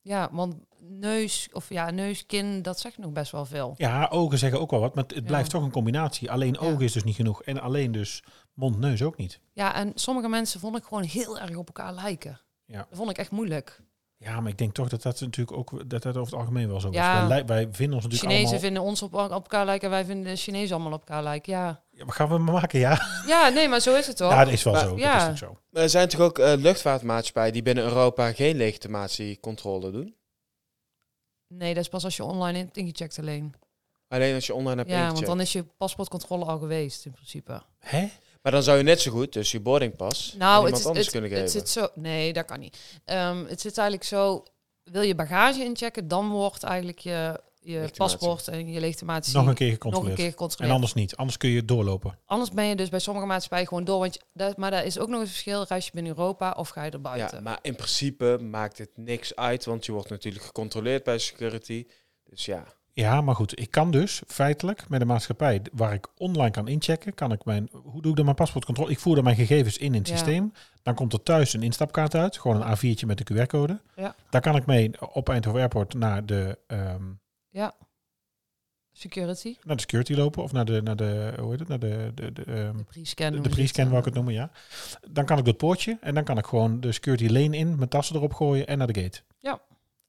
S2: ja, want neus, of ja, neus, kin, dat zegt nog best wel veel.
S3: Ja, ogen zeggen ook wel wat, maar het blijft
S2: Ja.
S3: toch een combinatie. Alleen ogen is dus niet genoeg. En alleen dus mond-neus ook niet.
S2: Ja, en sommige mensen vond ik gewoon heel erg op elkaar lijken.
S3: Ja.
S2: Dat vond ik echt moeilijk.
S3: Ja, maar ik denk toch dat dat natuurlijk ook dat dat over het algemeen wel zo
S2: Ja.
S3: is. Wij, li- wij vinden ons natuurlijk
S2: Chinezen
S3: allemaal...
S2: vinden ons op, op elkaar lijken en wij vinden de Chinezen allemaal op elkaar lijken. Ja.
S3: Ja, maar gaan we maar maken, ja.
S2: ja, nee, maar zo is het toch?
S3: Ja, dat is wel
S5: Maar-
S3: zo.
S2: Ja.
S3: Dat is natuurlijk zo.
S5: Maar er zijn toch ook eh, luchtvaartmaatschappijen die binnen Europa geen legitimatiecontrole doen?
S2: Nee, dat is pas als je online hebt ingecheckt alleen.
S5: Alleen als je online hebt
S2: ja, want
S5: ingecheckt.
S2: dan is je paspoortcontrole al geweest in principe.
S3: Hè?
S5: Maar dan zou je net zo goed dus je boardingpas aan
S2: Nou,
S5: iemand
S2: het, is-
S5: anders
S2: het,
S5: kunnen
S2: het
S5: geven.
S2: zit zo... Nee, dat kan niet. Ehm, het zit eigenlijk zo... Wil je bagage inchecken, dan wordt eigenlijk je je
S4: Legitimatie.
S2: paspoort en je legitimatie
S3: Nog een keer
S2: nog een
S3: gecontroleerd.
S2: keer
S3: En
S2: gecontroleerd.
S3: anders niet. Anders kun je doorlopen.
S2: Anders ben je dus bij sommige maatschappijen gewoon door. Want je- dat, maar daar is ook nog een verschil. Reis je binnen Europa of ga je er buiten?
S5: Ja, maar in principe maakt het niks uit, want je wordt natuurlijk gecontroleerd bij security. Dus ja,
S3: Ja, maar goed. Ik kan dus feitelijk met een maatschappij d- waar ik online kan inchecken, kan ik mijn, hoe doe ik dan mijn paspoortcontrole? Ik voer dan mijn gegevens in in het
S2: Ja.
S3: systeem. Dan komt er thuis een instapkaart uit, gewoon een A4'tje met de QR-code.
S2: Ja.
S3: Daar kan ik mee op Eindhoven Airport naar de, ehm,
S2: Security.
S3: naar de security lopen of naar de, naar de hoe heet het, naar de, de, de, ehm,
S2: De pre-scan.
S3: de,
S2: noemen ze
S3: de pre-scan,
S2: dan.
S3: wou ik het noemen, ja. Dan kan ik dat poortje en dan kan ik gewoon de security lane in, mijn tassen erop gooien en naar de gate.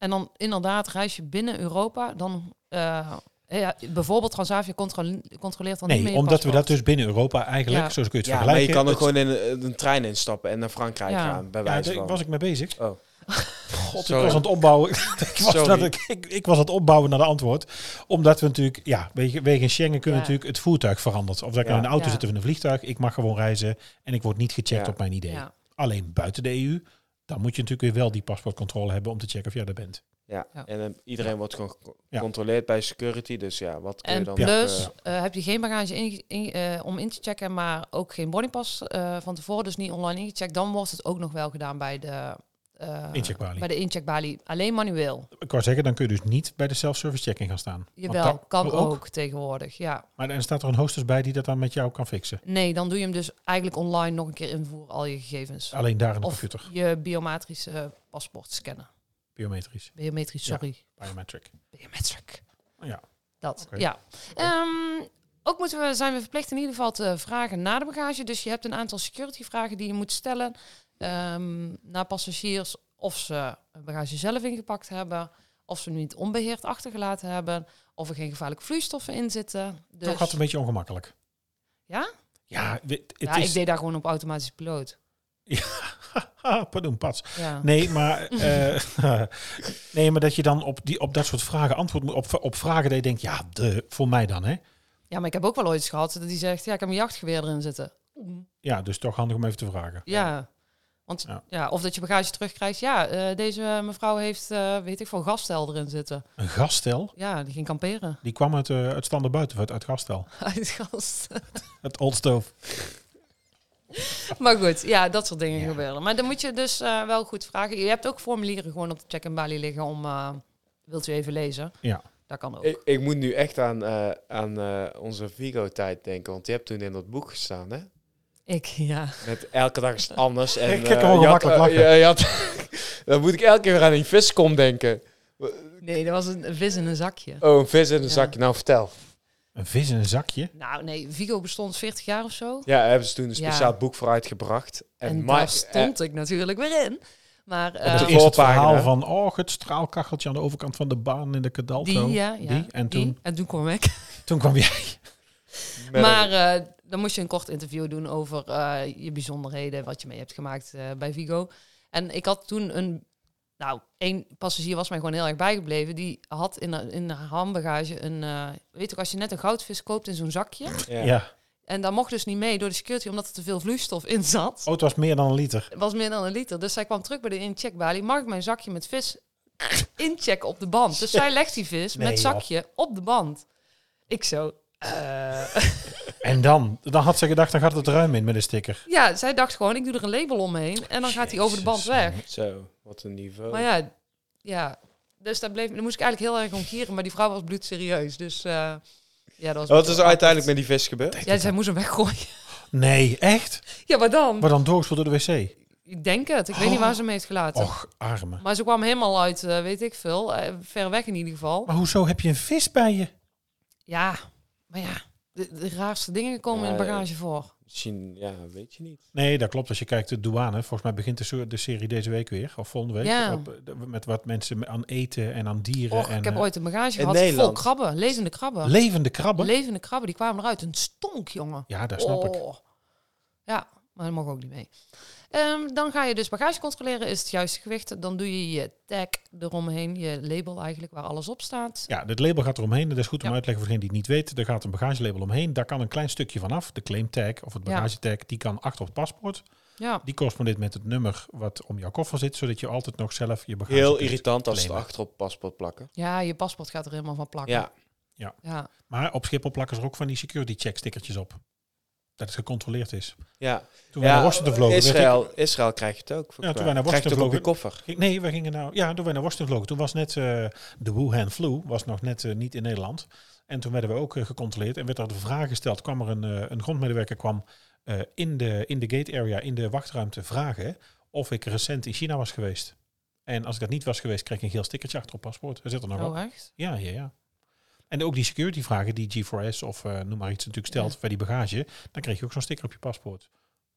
S2: En dan inderdaad, reis je binnen Europa, dan... eh, ja, bijvoorbeeld Transavia controle- controleert dan niet
S3: Nee,
S2: meer je
S3: omdat we dat
S2: paspoort.
S3: dus binnen Europa eigenlijk,
S2: Ja.
S3: zo kun je het
S5: ja maar
S3: vergelijken.
S5: je kan ook
S3: het-
S5: gewoon in een, een trein instappen en naar Frankrijk
S2: Ja.
S5: gaan, bij
S3: Ja,
S5: wijze
S3: daar
S5: van.
S3: was ik mee bezig.
S5: Oh.
S3: God, ik
S5: Sorry.
S3: was aan het opbouwen. ik, was
S5: Sorry.
S3: aan het- ik, ik was aan het opbouwen naar de antwoord. Omdat we natuurlijk, ja, wege- wegens Schengen kunnen
S2: Ja.
S3: natuurlijk het voertuig verandert. Of dat ik
S5: Ja.
S3: nou in een auto
S2: Ja.
S3: zit of in een vliegtuig. Ik mag gewoon reizen en ik word dus niet gecheckt
S5: Ja.
S3: op mijn idee.
S2: Ja.
S3: Alleen buiten de EU, dan moet je natuurlijk weer wel die paspoortcontrole hebben om te checken of jij daar bent.
S5: Ja.
S2: Ja.
S5: En eh, iedereen wordt gewoon ge-
S3: Ja.
S5: gecontroleerd bij security, dus ja, wat kun je
S2: En
S5: dan...
S2: plus,
S5: eh,
S2: eh, heb je geen bagage in, in- eh, om in te checken, maar ook geen boardingpas eh, van tevoren, dus niet online ingecheckt, dan wordt het ook nog wel gedaan bij de... eh,
S3: Incheckbalie.
S2: Bij de incheckbalie. Alleen manueel.
S3: Ik wou zeggen, dan kun je dus niet bij de self-service checking gaan staan. Want
S2: Jawel,
S3: dat-
S2: kan ook. tegenwoordig, ja.
S3: Maar dan staat er een hostess bij die dat dan met jou kan fixen.
S2: Nee, dan doe je hem dus eigenlijk online nog een keer invoeren, al je gegevens.
S3: Alleen daar in Ah, de
S2: of
S3: computer,
S2: je biometrische eh, paspoort scannen.
S3: biometrisch,
S2: Biometrisch,
S3: Ja.
S2: sorry.
S3: biometric.
S2: Biometric.
S3: Ja.
S2: Dat,
S3: Oké.
S2: ja. Ehm, ook moeten we, zijn we verplicht in ieder geval te vragen na de bagage. Dus je hebt een aantal security vragen die je moet stellen ehm, naar passagiers. Of ze hun bagage zelf ingepakt hebben. Of ze hem niet onbeheerd achtergelaten hebben. Of er geen gevaarlijke vloeistoffen in zitten. Dus,
S3: Toch had het een beetje ongemakkelijk.
S2: Ja?
S3: Ja, we- het
S2: ja,
S3: is...
S2: ik deed daar gewoon op automatische piloot.
S3: Ah, pardon, pats.
S2: Ja.
S3: Nee, maar, eh, nee, maar dat je dan op, die, op dat soort vragen antwoord moet... Op, op vragen dat je denkt, ja, de, voor mij dan, hè?
S2: ja, maar ik heb ook wel ooit eens gehad dat die zegt... ja, ik heb mijn jachtgeweer erin zitten.
S3: Ja, dus toch handig om even te vragen.
S2: Ja. Want, ja.
S3: Ja.
S2: of dat je bagage terugkrijgt. Ja, eh, deze mevrouw heeft, eh, weet ik veel, gastel erin zitten.
S3: Een gaststel,
S2: Ja, die ging kamperen.
S3: die kwam uit, eh uit Stander Buitenvat, uit gaststel.
S2: Uit gas.
S3: Het oldstoof.
S2: maar goed, ja, dat soort dingen
S3: Ja.
S2: gebeuren. Maar dan moet je dus eh, wel goed vragen. Je hebt ook formulieren gewoon op de check-in balie liggen om... eh, wilt u even lezen?
S3: Ja. Eh,
S2: Dat kan ook.
S5: eh, ik, ik moet nu echt aan, eh, aan eh, onze Vigo-tijd denken, want je hebt toen in dat boek gestaan, hè?
S2: Ik, ja.
S5: Met elke dag is het anders. En,
S3: Ik kan
S5: eh,
S3: wel
S5: je had,
S3: makkelijk
S5: eh,
S3: lachen.
S5: je- je had- dan moet ik elke keer weer aan die viskom denken.
S2: Nee, dat was een vis in een zakje.
S5: Oh, een vis in een
S2: Ja.
S5: zakje. Nou, vertel.
S3: Een vis in een zakje.
S2: Nou, nee, Vigo bestond 40 jaar of zo.
S5: Ja, daar hebben ze toen een
S2: Ja.
S5: speciaal boek voor uitgebracht. En, eh,
S2: En
S5: ma-
S2: daar stond ik natuurlijk weer in. Maar
S5: de
S2: eh,
S3: eh, Toen is het
S5: voorpagina.
S3: verhaal van, oh, het straalkacheltje aan de overkant van de baan in de Cadalto.
S2: die, ja, ja,
S3: die. En toen,
S2: En toen kwam ik.
S3: toen kwam jij.
S5: eh, met-
S2: Maar eh, dan moest je een kort interview doen over eh, je bijzonderheden, wat je mee hebt gemaakt eh, bij Vigo. En ik had toen een. Nou, één passagier was mij gewoon heel erg bijgebleven. Die had in, haar- in haar handbagage een. eh, weet ook, als je net een goudvis koopt in zo'n zakje.
S5: ja.
S3: Ja.
S2: En daar mocht dus niet mee door de security, omdat er te veel vloeistof in zat.
S3: Oh, het was meer dan een liter.
S2: Het was meer dan een liter. Dus zij kwam terug bij de incheckbalie. Mag ik mijn zakje met vis inchecken op de band? Dus zij legt die vis
S3: Nee,
S2: met
S3: joh.
S2: zakje op de band. Ik zo. eh,
S3: En dan? Dan had ze gedacht, dan gaat het ruim in met een sticker.
S2: Ja, zij dacht gewoon, ik doe er een label omheen en dan gaat hij over de band
S3: Jezus,
S2: weg.
S3: man.
S5: Zo, wat een niveau.
S2: Maar ja, ja. Dus daar, bleef, daar moest ik eigenlijk heel erg om gieren, maar die vrouw was bloedserieus. Dus eh, ja, dat was...
S5: wat is er uiteindelijk met die vis gebeurd?
S2: Ja, zij moest hem weggooien.
S3: Nee, echt?
S2: Ja, maar dan?
S3: Maar dan doorgespoeld door de wc.
S2: Ik denk het. Ik weet niet waar ze hem heeft gelaten.
S3: Och, arme.
S2: Maar ze kwam helemaal uit, eh, weet ik veel, eh, ver weg in ieder geval.
S3: Maar hoezo heb je een vis bij je?
S2: Ja, maar ja, de, de raarste dingen komen in de
S5: Ja,
S2: bagage voor.
S5: Misschien, ja, weet je niet.
S3: Nee, dat klopt. Als je kijkt, de douane. Volgens mij begint de, so- de serie deze week weer. Of volgende week.
S2: Ja.
S3: Op, eh, de- met wat mensen aan eten en aan dieren.
S2: Och,
S3: en,
S2: ik heb
S3: eh,
S2: ooit een bagage
S5: in
S2: gehad vol
S5: Nederland.
S2: krabben, levende krabben.
S3: levende krabben.
S2: Levende krabben, die kwamen eruit. Een stonk, jongen.
S3: ja, daar snap ik.
S2: Oh. Ja, maar dat mag ook niet mee. Ehm, dan ga je dus bagage controleren. Is het juiste gewicht? Dan doe je je tag eromheen. Je label eigenlijk, waar alles op staat.
S3: Ja, dit label gaat eromheen. Dat is goed om
S2: Ja.
S3: uit te leggen voor degenen die het niet weten. Er gaat een bagagelabel omheen. Daar kan een klein stukje vanaf. De claim tag of het
S2: Ja.
S3: bagagetag. Die kan achter op het paspoort.
S2: Ja.
S3: Die correspondeert met het nummer wat om jouw koffer zit, zodat je altijd nog zelf je bagage
S5: Heel
S3: kunt
S5: irritant als ze het
S3: claimen.
S5: achterop paspoort plakken.
S2: ja, je paspoort gaat er helemaal van plakken.
S5: Ja,
S2: Ja.
S3: Maar op Schiphol plakken ze er ook van die security check stickertjes op. Dat het gecontroleerd is.
S5: ja.
S3: Toen we
S5: ja
S3: naar Washington vlogen... werd ik-
S5: Israël, Israël krijg je het ook.
S3: Ja, toen wij naar
S5: krijg je het ook op je
S3: Washington
S5: koffer.
S3: ging- Nee, we gingen nou... Ja, toen wij naar Washington vlogen. Toen was net eh, de Wuhan flu, was nog net eh, niet in Nederland. En toen werden we ook eh, gecontroleerd. En werd er de vraag gesteld, kwam er een, eh, een grondmedewerker kwam eh, in, de, in de gate area, in de wachtruimte vragen of ik recent in China was geweest. En als ik dat niet was geweest, kreeg ik een geel stickertje achter op paspoort. Er zit er nog op.
S2: Oh, echt?
S3: Ja, ja, ja. En ook die security vragen die G4S of eh, noem maar iets natuurlijk stelt bij die bagage, dan kreeg je ook zo'n sticker op je paspoort.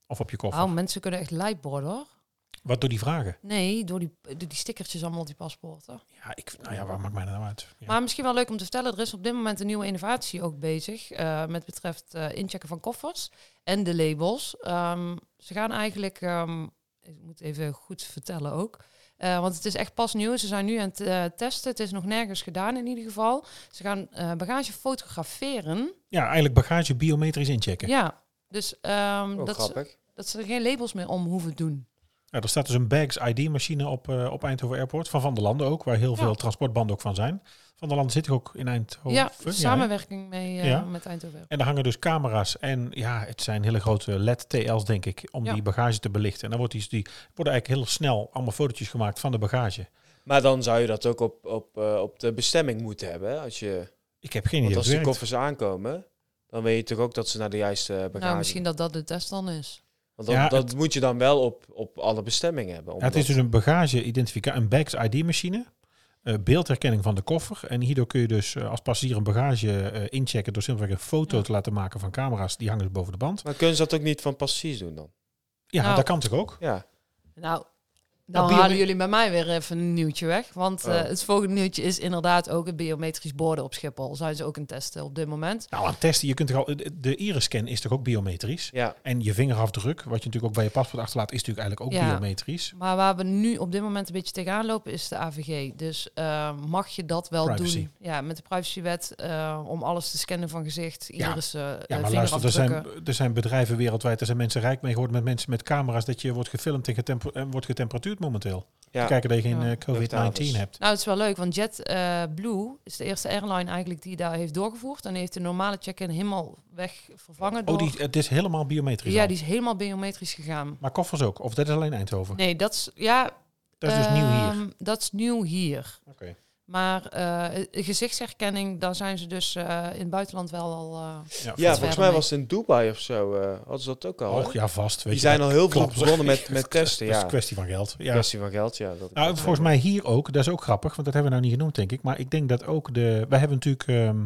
S3: Of op je koffer.
S2: Oh, mensen kunnen echt lijp worden, hoor.
S3: Wat door die vragen?
S2: Nee, door die, door die stickertjes allemaal op die paspoorten.
S3: Ja, ik, nou ja, waar maakt mij dat nou uit? Ja.
S2: Maar misschien wel leuk om te vertellen, er is op dit moment een nieuwe innovatie ook bezig eh, met betreft eh, inchecken van koffers en de labels. Ehm, ze gaan eigenlijk, ehm, ik moet even goed vertellen ook, eh, want het is echt pas nieuw. Ze zijn nu aan het eh, testen, het is nog nergens gedaan in ieder geval. Ze gaan eh, bagage fotograferen.
S3: ja, eigenlijk bagage biometrisch inchecken. Ja.
S2: Ja, dus ehm,
S5: Ook
S2: dat, ze,
S5: Oh, grappig.
S2: dat ze er geen labels meer om hoeven doen.
S3: er staat dus een bags ID-machine op, eh, op Eindhoven Airport, van Van der Landen ook, waar heel
S2: Ja.
S3: veel transportbanden ook van zijn. Van der Landen zit ook in Eindhoven.
S2: ja,
S3: Oh, hè?
S2: samenwerking mee eh,
S3: Ja.
S2: met Eindhoven.
S3: En daar hangen dus camera's en ja, het zijn hele grote LED-TL's denk ik, om
S2: Ja.
S3: die bagage te belichten. En dan wordt die, die worden eigenlijk heel snel allemaal fotootjes gemaakt van de bagage.
S5: Maar dan zou je dat ook op, op, eh, op de bestemming moeten hebben. hè, Als je,
S3: Ik heb geen idee hoe
S5: want als die
S3: het werkt.
S5: koffers aankomen, dan weet je toch ook dat ze naar de juiste eh, bagage...
S2: Nou, misschien dat dat de test dan is.
S5: Want dat,
S3: Ja,
S5: dat moet je dan wel op, op alle bestemmingen hebben.
S3: Ja, het is dus een bagage-identificatie, een bags ID-machine, eh, beeldherkenning van de koffer. En hierdoor kun je dus eh, als passagier een bagage eh, inchecken door simpelweg een foto te laten maken van camera's. Die hangen dus boven de band.
S5: Maar kunnen ze dat ook niet van passagiers doen dan?
S3: Ja,
S2: Nou.
S3: dat kan toch ook?
S5: Ja.
S2: Nou, dan
S3: biome-
S2: halen jullie bij mij weer even een nieuwtje weg. Want eh,
S5: Oh.
S2: het volgende nieuwtje is inderdaad ook het biometrisch borden op Schiphol. Zijn ze ook een testen op dit moment?
S3: Nou, aan testen, je kunt toch al, de- de iris-scan is toch ook biometrisch?
S5: ja.
S3: En je vingerafdruk, wat je natuurlijk ook bij je paspoort achterlaat, is natuurlijk eigenlijk ook
S2: Ja.
S3: biometrisch.
S2: Maar waar we nu op dit moment een beetje tegenaan lopen is de AVG. Dus eh, mag je dat wel
S3: Privacy.
S2: doen? Ja, met de privacywet eh, om alles te scannen van gezicht,
S3: Ja.
S2: iris, eh
S3: Ja, maar
S2: eh,
S3: luister, er zijn,
S2: vingerafdrukken.
S3: er zijn bedrijven wereldwijd, er zijn mensen rijk mee geworden met mensen met camera's, dat je wordt gefilmd en, getempo- en wordt getemperatuurd momenteel.
S5: Ja.
S3: Kijken dat je geen
S2: Ja.
S3: eh, COVID-19
S5: Luchthavens.
S3: hebt.
S2: Nou, het is wel leuk, want JetBlue is de eerste airline eigenlijk die daar heeft doorgevoerd. En heeft de normale check-in helemaal weg vervangen
S3: Oh,
S2: door...
S3: die, het is helemaal biometrisch
S2: ja,
S3: al.
S2: die is helemaal biometrisch gegaan.
S3: Maar koffers ook? Of dat is alleen Eindhoven?
S2: Nee, dat is... Ja,
S3: Dat is dus nieuw hier.
S2: Ehm, Dat is nieuw hier.
S3: Oké.
S2: Maar eh, gezichtsherkenning, daar zijn ze dus eh, in het buitenland wel al... eh,
S5: Ja,
S2: is
S5: volgens
S2: verder
S5: mij
S2: mee.
S5: was het in Dubai of zo. eh hadden ze dat ook al. hè?
S3: Och, ja, vast. Weet
S5: Die
S3: je,
S5: zijn
S3: dat
S5: al heel veel
S3: klopt.
S5: begonnen met, met testen.
S3: Dat is dus
S5: Ja.
S3: een kwestie van geld. Ja.
S5: Kwestie van geld, ja. Dat
S3: Nou, volgens mij hier ook. Dat is ook grappig, want dat hebben we nou niet genoemd, denk ik. Maar ik denk dat ook de... Wij hebben natuurlijk ehm,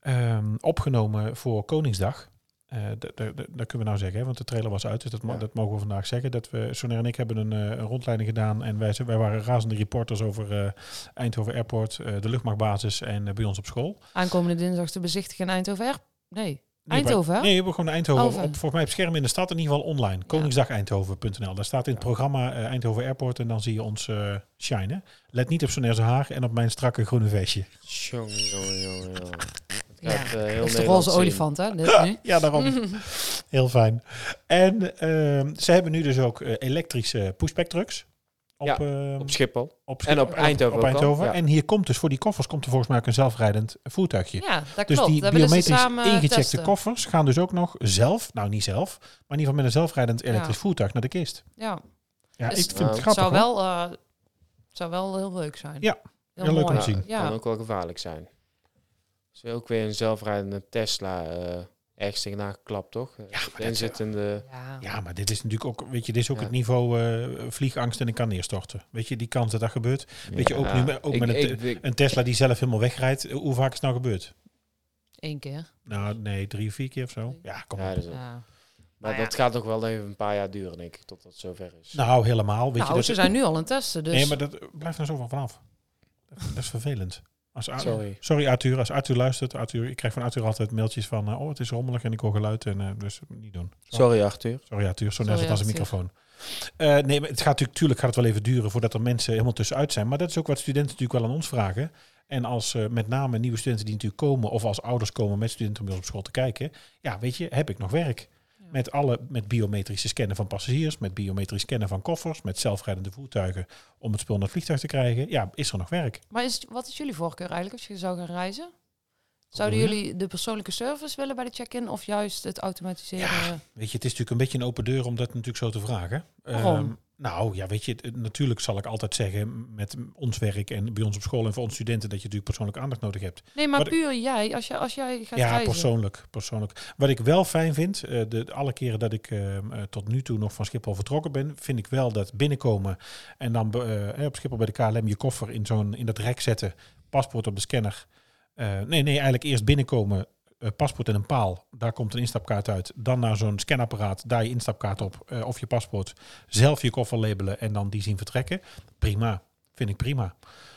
S3: ehm, opgenomen voor Koningsdag. Eh, d- d- d- dat kunnen we nou zeggen, hè, want de trailer was uit. Dus dat, mo-
S5: Ja.
S3: dat mogen we vandaag zeggen. Dat we, Soner en ik hebben een, eh, een rondleiding gedaan. En wij, zijn- wij waren razende reporters over eh, Eindhoven Airport, eh, de luchtmachtbasis en eh, bij ons op school.
S2: aankomende dinsdag te bezichtigen in Eindhoven. Air- Nee,
S3: Nee, maar-
S2: Eindhoven. hè?
S3: Nee, we hebben gewoon Eindhoven. Op,
S2: Over.
S3: op- volgens mij op scherm in de stad, in ieder geval online. Koningsdag-Eindhoven.nl. Daar staat in het programma eh, Eindhoven Airport en dan zie je ons eh shinen. Let niet op zijn haar en op mijn strakke groene vestje.
S5: Jongen, jongen, jongen, jongen. Het
S2: Ja,
S5: gaat, eh, heel
S2: dat is de
S5: Nederland
S2: roze
S5: zien.
S2: olifant, hè? Dit nu.
S3: Ja, daarom. Heel fijn. En ehm, ze hebben nu dus ook eh, elektrische pushback trucks. Op,
S5: Ja,
S3: ehm,
S5: Op Schiphol.
S3: op
S5: En op Eindhoven.
S3: op
S5: ook al,
S3: Eindhoven.
S5: ja.
S3: En hier komt dus voor die koffers komt er volgens mij ook een zelfrijdend voertuigje.
S2: Ja, dat
S3: Dus
S2: klopt.
S3: die
S2: dat willen ze
S3: biometrisch
S2: samen eh,
S3: ingecheckte
S2: testen.
S3: koffers gaan dus ook nog zelf, nou niet zelf, maar in ieder geval met een zelfrijdend elektrisch voertuig naar de kist.
S2: Ja,
S3: Ja,
S2: Dus
S3: ik vind het
S5: het
S3: grappig.
S2: zou
S3: hoor.
S2: wel, eh, zou wel heel leuk zijn.
S3: Ja,
S2: heel,
S3: heel leuk om
S2: mooi.
S3: te zien.
S2: Ja.
S5: Kan ook wel gevaarlijk zijn. Ze ook weer een zelfrijdende Tesla eh ergens tegenaan geklapt, toch? Eh, Ja, en zit in de...
S2: Ja.
S3: Ja, maar dit is natuurlijk ook, weet je, dit is ook
S5: Ja.
S3: het niveau eh, vliegangst en ik kan neerstorten. Weet je, die kans dat dat gebeurt. Weet je, ook nu met- ook
S5: Ik-
S3: met een
S5: ik- ik-
S3: Een Tesla die zelf helemaal wegrijdt, eh, hoe vaak is het nou gebeurd?
S2: Eén keer.
S3: Nou, nee, drie of vier keer of zo. Ja, kom
S5: Ja,
S3: op.
S5: dat is-
S2: Ja. dus-
S5: maar
S2: Nou ja.
S5: dat gaat nog wel even een paar jaar duren, denk ik, totdat het zover is.
S3: Nou, helemaal. Weet je,
S2: Nou,
S3: dat,
S2: ze zijn nu al aan het testen, dus...
S3: Nee, maar dat eh, blijft er zo van vanaf. Dat, dat is vervelend. Als Ar- Sorry.
S5: Sorry.
S3: Arthur. Als Arthur luistert, Arthur, ik krijg van Arthur altijd mailtjes van, eh, oh, het is rommelig en ik hoor geluid en eh, dus niet doen. Zo.
S5: Sorry, Arthur.
S3: Sorry, Arthur, Oh zo net
S2: Sorry,
S3: als als een
S2: Arthur.
S3: microfoon. Eh, nee, maar het gaat natuurlijk tuurlijk gaat het wel even duren voordat er mensen helemaal tussenuit zijn. Maar dat is ook wat studenten natuurlijk wel aan ons vragen. En als eh, met name nieuwe studenten die natuurlijk komen, of als ouders komen met studenten om bij ons op school te kijken, ja, weet je, heb ik nog werk? Met, alle, met biometrische scannen van passagiers, met biometrisch scannen van koffers, met zelfrijdende voertuigen om het spul naar het vliegtuig te krijgen. Ja, is er nog werk?
S2: Maar is, wat is jullie voorkeur eigenlijk als je zou gaan reizen? Zouden
S3: Goeie.
S2: jullie de persoonlijke service willen bij de check-in of juist het automatiseren?
S3: Weet je, het is natuurlijk een beetje een open deur om dat natuurlijk zo te vragen.
S2: Waarom?
S3: Ehm, nou ja, weet je, het- natuurlijk zal ik altijd zeggen met ons werk en bij ons op school en voor onze studenten dat je natuurlijk persoonlijke aandacht nodig hebt.
S2: Nee, maar
S3: Wat-
S2: puur jij, als, je, als jij gaat
S3: ja,
S2: reizen.
S3: persoonlijk, persoonlijk. Wat ik wel fijn vind, eh, de, de alle keren dat ik eh, eh, tot nu toe nog van Schiphol vertrokken ben, vind ik wel dat binnenkomen en dan be- eh, eh, op Schiphol bij de KLM je koffer in, zo'n, in dat rek zetten, paspoort op de scanner. Eh, nee, nee, eigenlijk eerst binnenkomen, eh, paspoort en een paal. Daar komt een instapkaart uit. Dan naar zo'n scanapparaat, daar je instapkaart op eh, of je paspoort. Zelf je koffer labelen en dan die zien vertrekken. Prima, vind ik prima.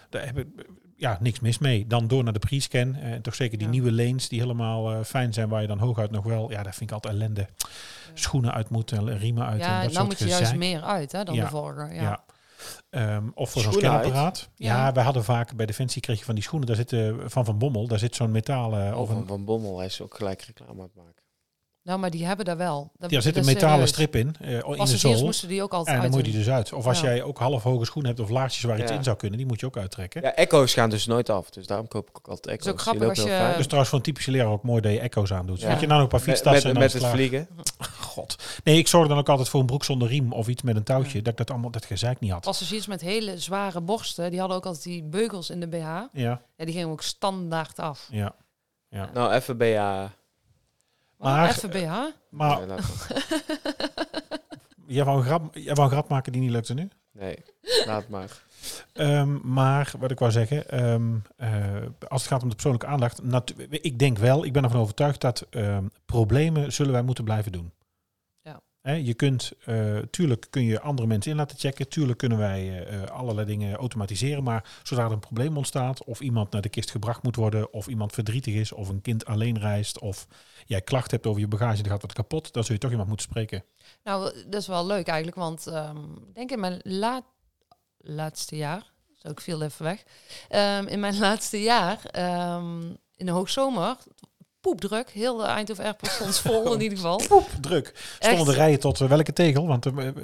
S3: Daar heb ik eh, ja, niks mis mee. Dan door naar de pre-scan. eh, En toch zeker die
S2: Ja.
S3: nieuwe lanes die helemaal eh, fijn zijn, waar je dan hooguit nog wel... Ja, dat vind ik altijd ellende. Schoenen uit moeten, en riemen uit en
S2: Ja,
S3: dat
S2: nou
S3: soort
S2: moet je
S3: gezeik.
S2: juist meer uit hè, dan
S3: Ja.
S2: de vorige. Ja.
S3: Ja. Ehm, of voor zo'n
S4: Schoenen uit?
S3: scanapparaat. Ja.
S2: Ja.
S3: wij hadden vaak bij Defensie kreeg je van die schoenen. Daar zit, eh, van Van Bommel, daar zit zo'n metalen...
S5: Oh,
S3: of een,
S5: van, van Bommel, hij is ook gelijk reclame aan het maken.
S2: Nou, maar die hebben daar wel. Dat-
S3: Ja, er zit
S2: dat
S3: een
S2: is
S3: metalen
S2: serieus.
S3: strip in, eh, in de
S2: Passagiers
S3: zool.
S2: moesten die ook altijd
S3: En dan
S2: uit
S3: moet je
S2: doen.
S3: die dus uit. Of als
S2: Ja.
S3: jij ook half hoge schoenen hebt of laarsjes waar iets
S5: Ja.
S3: in zou kunnen, die moet je ook uittrekken.
S5: Ja, echo's gaan dus nooit af, dus daarom koop ik ook altijd echo's.
S2: ook
S5: Die
S2: grappig
S5: lopen
S2: als
S5: heel
S2: je-
S5: vaak.
S3: Dus trouwens voor een typische leraar ook mooi dat je echo's aandoet.
S5: Ja.
S3: Weet je, nou nog een paar
S5: Met-
S3: fietstassen
S5: met,
S3: en dan
S5: met
S3: is
S5: het
S3: het klaar.
S5: vliegen.
S3: God. Nee, ik zorg dan ook altijd voor een broek zonder riem of iets met een touwtje. Dat ik dat allemaal, dat gezeik niet had.
S2: Passagiers met hele zware borsten, die hadden ook altijd die beugels in de BH. Ja,
S3: Ja,
S2: die gingen ook standaard af.
S3: ja.
S5: Nou, even bij ja.
S2: Maar
S3: Maar-
S2: even BH?
S3: Maar
S5: Nee, laat maar.
S3: jij wou, een grap, jij wou een grap maken die niet lukte nu?
S5: Nee, laat maar.
S3: Ehm, maar wat ik wou zeggen, ehm, eh, als het gaat om de persoonlijke aandacht, natu- ik denk wel, ik ben ervan overtuigd dat ehm, problemen zullen wij moeten blijven doen.
S2: Ja.
S3: Hè, je kunt, eh, tuurlijk kun je andere mensen in laten checken, tuurlijk kunnen wij eh, eh, allerlei dingen automatiseren, maar zodra er een probleem ontstaat, of iemand naar de kist gebracht moet worden, of iemand verdrietig is, of een kind alleen reist, of jij klacht hebt over je bagage, dan gaat dat kapot, dan zul je toch iemand moeten spreken.
S2: Nou, dat is wel leuk eigenlijk, want ehm, ik denk in mijn laat, laatste jaar, zo ik viel even weg, Ehm, in mijn laatste jaar, ehm, in de hoogzomer, poepdruk, heel de Eindhoven Airport stond vol in ieder geval.
S3: Poep, druk. Stonden
S2: Echt?
S3: de rijen tot eh, welke tegel? Want eh, eh,